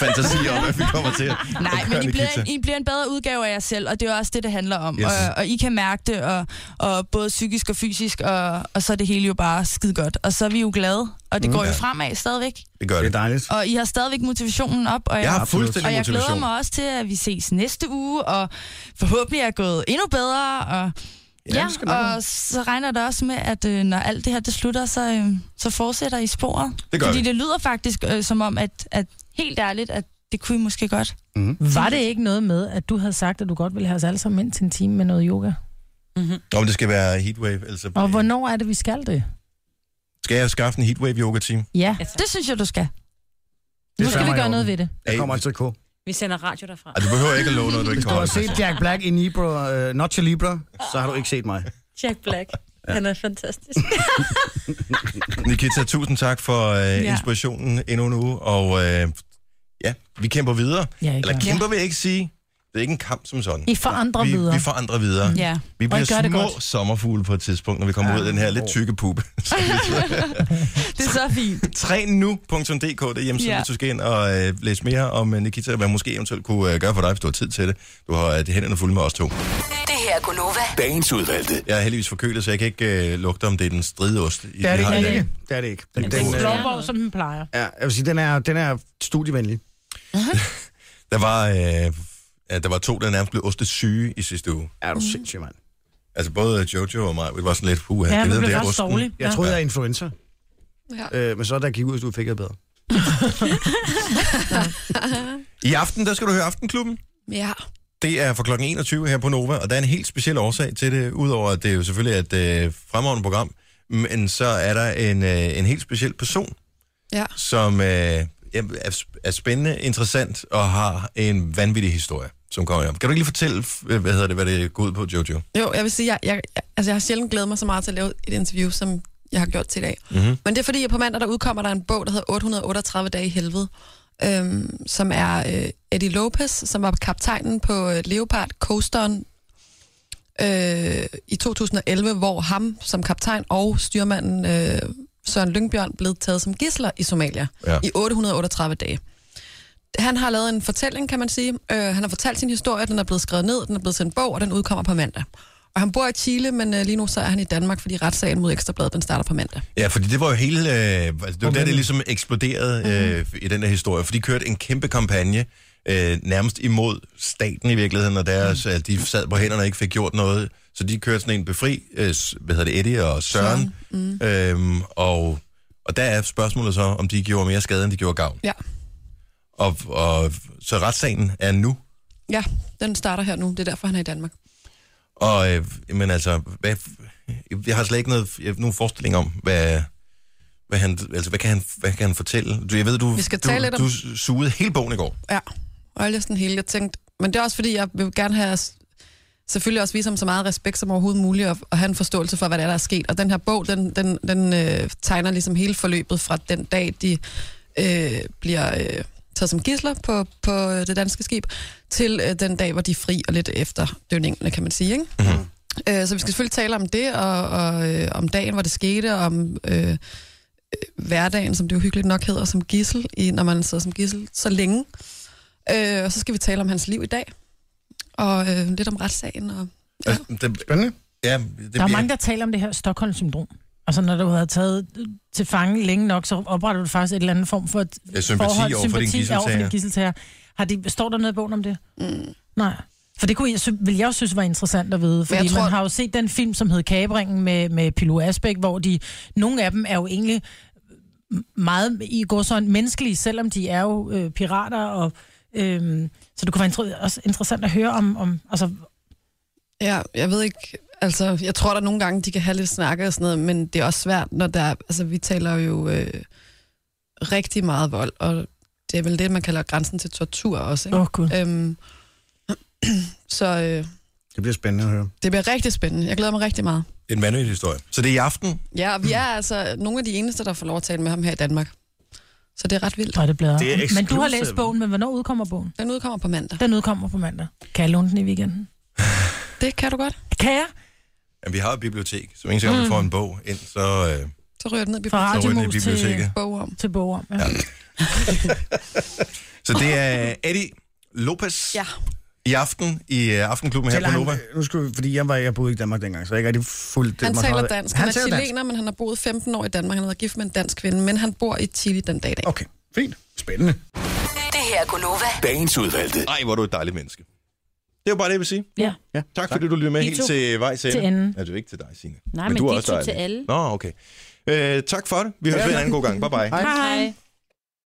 [SPEAKER 1] fantasi om, at vi kommer til at
[SPEAKER 11] Nej,
[SPEAKER 1] at gøre
[SPEAKER 11] men I
[SPEAKER 1] det,
[SPEAKER 11] bliver,
[SPEAKER 1] Kita.
[SPEAKER 11] I bliver en bedre udgave af jer selv, og det er også det, det handler om.
[SPEAKER 1] Yes.
[SPEAKER 11] Yes. Og, og I kan mærke det, og, og både psykisk og fysisk, og, og så er det hele jo bare skide godt. Og så er vi jo glade, og
[SPEAKER 1] Mm.
[SPEAKER 11] det mm, går
[SPEAKER 1] Ja.
[SPEAKER 11] jo fremad stadigvæk.
[SPEAKER 1] Det gør det. Det er
[SPEAKER 3] dejligt.
[SPEAKER 11] Og I har stadigvæk motivationen op, og jeg,
[SPEAKER 1] Jeg har fuldstændig
[SPEAKER 11] og jeg glæder
[SPEAKER 1] motivation.
[SPEAKER 11] mig også til, at vi ses næste uge, og forhåbentlig er jeg gået endnu bedre. Og,
[SPEAKER 1] Ja,
[SPEAKER 11] ja,
[SPEAKER 1] det skal nok
[SPEAKER 11] ja og så regner det også med, at øh, når alt det her det slutter, så, øh, så fortsætter I sporet.
[SPEAKER 1] Det gør
[SPEAKER 11] Fordi
[SPEAKER 1] vi.
[SPEAKER 11] det lyder faktisk øh, som om, at, at helt ærligt, at det kunne I måske godt.
[SPEAKER 3] Mm.
[SPEAKER 5] Var det ikke noget med, at du havde sagt, at du godt ville have os alle sammen ind til en time med noget yoga? Mm-hmm.
[SPEAKER 1] Om det skal være heatwave, altså...
[SPEAKER 5] Og hvornår er det, vi skal det?
[SPEAKER 1] Skal jeg skaffe en heatwave yoga team?
[SPEAKER 5] Ja, det synes jeg, du skal. Nu skal vi gøre noget ved det.
[SPEAKER 3] Der kommer altid K.
[SPEAKER 10] Vi sender radio derfra.
[SPEAKER 1] Du behøver ikke at love noget, du ikke
[SPEAKER 3] Hvis du
[SPEAKER 1] kan
[SPEAKER 3] har
[SPEAKER 1] holde.
[SPEAKER 3] set Jack Black i Nibra, øh, Notcha Libra, så har du ikke set mig.
[SPEAKER 10] Jack Black.
[SPEAKER 3] Ja.
[SPEAKER 10] Han er fantastisk.
[SPEAKER 1] Nikita, tusind tak for øh, inspirationen endnu en uge, og øh, ja, vi kæmper videre.
[SPEAKER 5] Ja, I
[SPEAKER 1] Eller
[SPEAKER 5] gør.
[SPEAKER 1] kæmper vil jeg ikke sige. Det er ikke en kamp som sådan.
[SPEAKER 5] I forandrer
[SPEAKER 1] vi,
[SPEAKER 5] videre.
[SPEAKER 1] Vi forandrer videre.
[SPEAKER 5] Mm. Ja.
[SPEAKER 1] Vi
[SPEAKER 5] Og I gør
[SPEAKER 1] bliver
[SPEAKER 5] det
[SPEAKER 1] små
[SPEAKER 5] godt.
[SPEAKER 1] sommerfugle på et tidspunkt, når vi kommer ud af den her lidt tykke puppe.
[SPEAKER 11] det er så fint.
[SPEAKER 1] Trænnu.dk, det er hjemmesiden,
[SPEAKER 11] Ja.
[SPEAKER 1] hvis du skal ind og øh, læse mere om øh, Nikita, og hvad hun måske eventuelt kunne øh, gøre for dig, hvis du har tid til det. Du har øh, hænderne fulde med os to.
[SPEAKER 6] Det her er Gunova.
[SPEAKER 1] Dagens udvalgte. Jeg er heldigvis forkølet, så jeg kan ikke øh, lugte, om det er den stride ost.
[SPEAKER 3] Det er det ikke. øh, Det er det ikke. Den, den, øh,
[SPEAKER 5] Blomborg, som den plejer.
[SPEAKER 3] ja, jeg vil sige, den er, den er studievenlig.
[SPEAKER 1] Der var, øh, ja, der var to, der nærmest blev ostesyge i sidste uge.
[SPEAKER 3] Er du sindssyg, mand?
[SPEAKER 1] Altså både Jojo og mig, vi var sådan lidt, puha,
[SPEAKER 3] Ja,
[SPEAKER 1] jeg
[SPEAKER 3] man
[SPEAKER 1] ved,
[SPEAKER 3] blev
[SPEAKER 1] det er
[SPEAKER 3] ret
[SPEAKER 1] osten.
[SPEAKER 3] sovlig. Jeg troede, jeg var influenza.
[SPEAKER 4] Ja.
[SPEAKER 3] Øh, men så da jeg gik ud, så fik jeg det bedre.
[SPEAKER 1] I aften, der skal du høre Aftenklubben.
[SPEAKER 4] ja.
[SPEAKER 1] Det er fra kl. 21 her på Nova, og der er en helt speciel årsag til det, udover at det er jo selvfølgelig er et øh, fremragende program, men så er der en, øh, en helt speciel person,
[SPEAKER 4] Ja.
[SPEAKER 1] som øh, er, er sp- er spændende, interessant og har en vanvittig historie, som kommer hjem. Kan du ikke lige fortælle, f- øh, hvad hedder det, hvad det går ud på, Jojo?
[SPEAKER 4] Jo, jeg vil sige, jeg, jeg, jeg- altså, jeg har sjældent glædet mig så meget til at lave et interview, som jeg har gjort til i dag.
[SPEAKER 1] Mhm.
[SPEAKER 4] Men det er fordi, at på mandag der udkommer der en bog, der hedder 838 dage i helvede, øhm, som er øh, Eddie Lopez, som var kaptajnen på øh, Leopard Coasteren øh, i 2011, hvor ham som kaptajn og styrmanden øh, Søren Lyngbjørn blev taget som gidsler i Somalia
[SPEAKER 1] Ja.
[SPEAKER 4] i 838 dage. Han har lavet en fortælling, kan man sige. Øh, han har fortalt sin historie, den er blevet skrevet ned, den er blevet sendt bog, og den udkommer på mandag. Og han bor i Chile, men øh, lige nu så er han i Danmark, fordi retssagen mod Ekstrabladet, den starter på mandag.
[SPEAKER 1] Ja, fordi det var jo hele... Øh, altså, det var der, det ligesom eksploderede øh, i den der historie, for de kørte en kæmpe kampagne øh, nærmest imod staten i virkeligheden, og deres, mm. de sad på hænderne og ikke fik gjort noget. Så de kørte sådan en befri, øh, s- hvad hedder det, Eddie og Søren, mm. øhm, og, og der er spørgsmålet så, om de gjorde mere skade, end de gjorde gavn.
[SPEAKER 4] Ja.
[SPEAKER 1] Og, og så retssagen er nu,
[SPEAKER 4] Ja, den starter her nu, det er derfor, han er i Danmark.
[SPEAKER 1] og øh, men altså, hvad, jeg har slet ikke noget, jeg, nogen forestilling om, hvad, hvad, han, altså, hvad, kan han, hvad kan han fortælle? Du, jeg ved, du,
[SPEAKER 4] Vi skal
[SPEAKER 1] du,
[SPEAKER 4] tale lidt om-
[SPEAKER 1] du sugede hele bogen i går.
[SPEAKER 4] Ja, og jeg læste den hele. Jeg tænkte, men det er også fordi, jeg vil gerne have os- selvfølgelig også vise ham så meget respekt som overhovedet muligt, og, og have en forståelse for, hvad der er, der er sket. Og den her bog, den, den, den øh, tegner ligesom hele forløbet fra den dag, de øh, bliver øh, taget som gidsler på, på øh, det danske skib, til øh, den dag, hvor de er fri, og lidt efter dønningene, kan man sige. Ikke?
[SPEAKER 5] Mm.
[SPEAKER 4] Mm-hmm. Øh, så vi skal selvfølgelig tale om det, og, og øh, om dagen, hvor det skete, og om... Øh, hverdagen, som det jo hyggeligt nok hedder, som gissel, i, når man sidder som gissel så længe. Øh, og så skal vi tale om hans liv i dag, og øh, lidt om retssagen. Og...
[SPEAKER 1] Altså, det, Spændende. Ja, det
[SPEAKER 5] Der er mange, der taler om det her Stockholm-syndrom. Altså, når du har taget til fange længe nok, så opretter du faktisk et eller andet form for et
[SPEAKER 1] Ja, sympati
[SPEAKER 5] forhold,
[SPEAKER 1] over for din
[SPEAKER 5] sympati over for
[SPEAKER 1] gidseltager.
[SPEAKER 5] din gidseltager. Har de, står der noget i bogen om det? Mm. Nej. For det kunne jeg, sy- ville jeg jo synes var interessant at vide, fordi
[SPEAKER 4] jeg tror-
[SPEAKER 5] tror... man har jo set den film, som hed Kabringen med, med Pilo Asbæk, hvor de, nogle af dem er jo egentlig meget i går sådan menneskelige, selvom de er jo øh, pirater, og øhm, så det kunne være inter- også interessant at høre om, om altså,
[SPEAKER 4] Ja, jeg ved ikke, altså, jeg tror der nogle gange, de kan have lidt snakke og sådan noget, men det er også svært, når der, altså, vi taler jo øh, rigtig meget vold, og det er vel det, man kalder grænsen til tortur også, ikke?
[SPEAKER 5] Åh, Gud.
[SPEAKER 4] Øhm, så øh,
[SPEAKER 3] Det bliver spændende at høre.
[SPEAKER 4] det bliver rigtig spændende. Jeg glæder mig rigtig meget.
[SPEAKER 1] En vanvittig historie. Så det er i aften.
[SPEAKER 4] Ja, og vi er altså nogle af de eneste, der får lov at tale med ham her i Danmark. Så det er ret vildt.
[SPEAKER 5] Nej, det bliver...
[SPEAKER 4] Det er
[SPEAKER 5] Men du har
[SPEAKER 4] exclusive.
[SPEAKER 5] læst bogen, men hvornår udkommer bogen?
[SPEAKER 4] Den udkommer på mandag.
[SPEAKER 5] Den udkommer på mandag. Kan jeg låne den i weekenden?
[SPEAKER 4] Det kan du godt.
[SPEAKER 5] Kan jeg?
[SPEAKER 1] Jamen, vi har et bibliotek, så hver gang mm. vi
[SPEAKER 5] Mm.
[SPEAKER 1] får en bog ind, så... Øh,
[SPEAKER 4] Så ryger den ned i
[SPEAKER 5] Fra
[SPEAKER 1] Så ryger den i
[SPEAKER 5] radiomus til
[SPEAKER 1] biblioteket.
[SPEAKER 4] bog om.
[SPEAKER 5] Til bog om, ja. ja.
[SPEAKER 1] så det er Eddie Lopez
[SPEAKER 4] ja.
[SPEAKER 1] i aften i øh, Aftenklubben her
[SPEAKER 3] Tæller
[SPEAKER 1] på
[SPEAKER 3] han-
[SPEAKER 1] Nova.
[SPEAKER 3] Nu skal vi, fordi jeg, var, jeg boede ikke i Danmark dengang, så jeg ikke rigtig fuldt...
[SPEAKER 4] Han taler dansk. Han, er chilener, men han har boet 15 år i Danmark. Han har været gift med en dansk kvinde, men han bor i Chile den dag i dag.
[SPEAKER 3] Okay, fint. Spændende.
[SPEAKER 6] Det her er Gunova.
[SPEAKER 1] Dagens udvalgte. Ej, hvor er du et dejligt menneske. Det var bare det, jeg vil sige.
[SPEAKER 5] Ja.
[SPEAKER 1] ja. Tak, fordi du lyttede med
[SPEAKER 10] I
[SPEAKER 1] helt
[SPEAKER 10] to.
[SPEAKER 1] til vej til,
[SPEAKER 10] Til enden.
[SPEAKER 1] Altså ikke til dig, Signe.
[SPEAKER 10] Nej, men
[SPEAKER 1] du er
[SPEAKER 10] de
[SPEAKER 1] også
[SPEAKER 10] to
[SPEAKER 1] dejlig.
[SPEAKER 10] til alle.
[SPEAKER 1] Nå, okay. Øh, tak for det. Vi høres
[SPEAKER 10] Ja.
[SPEAKER 1] ved en anden god gang. Bye bye.
[SPEAKER 10] Hej. Hej.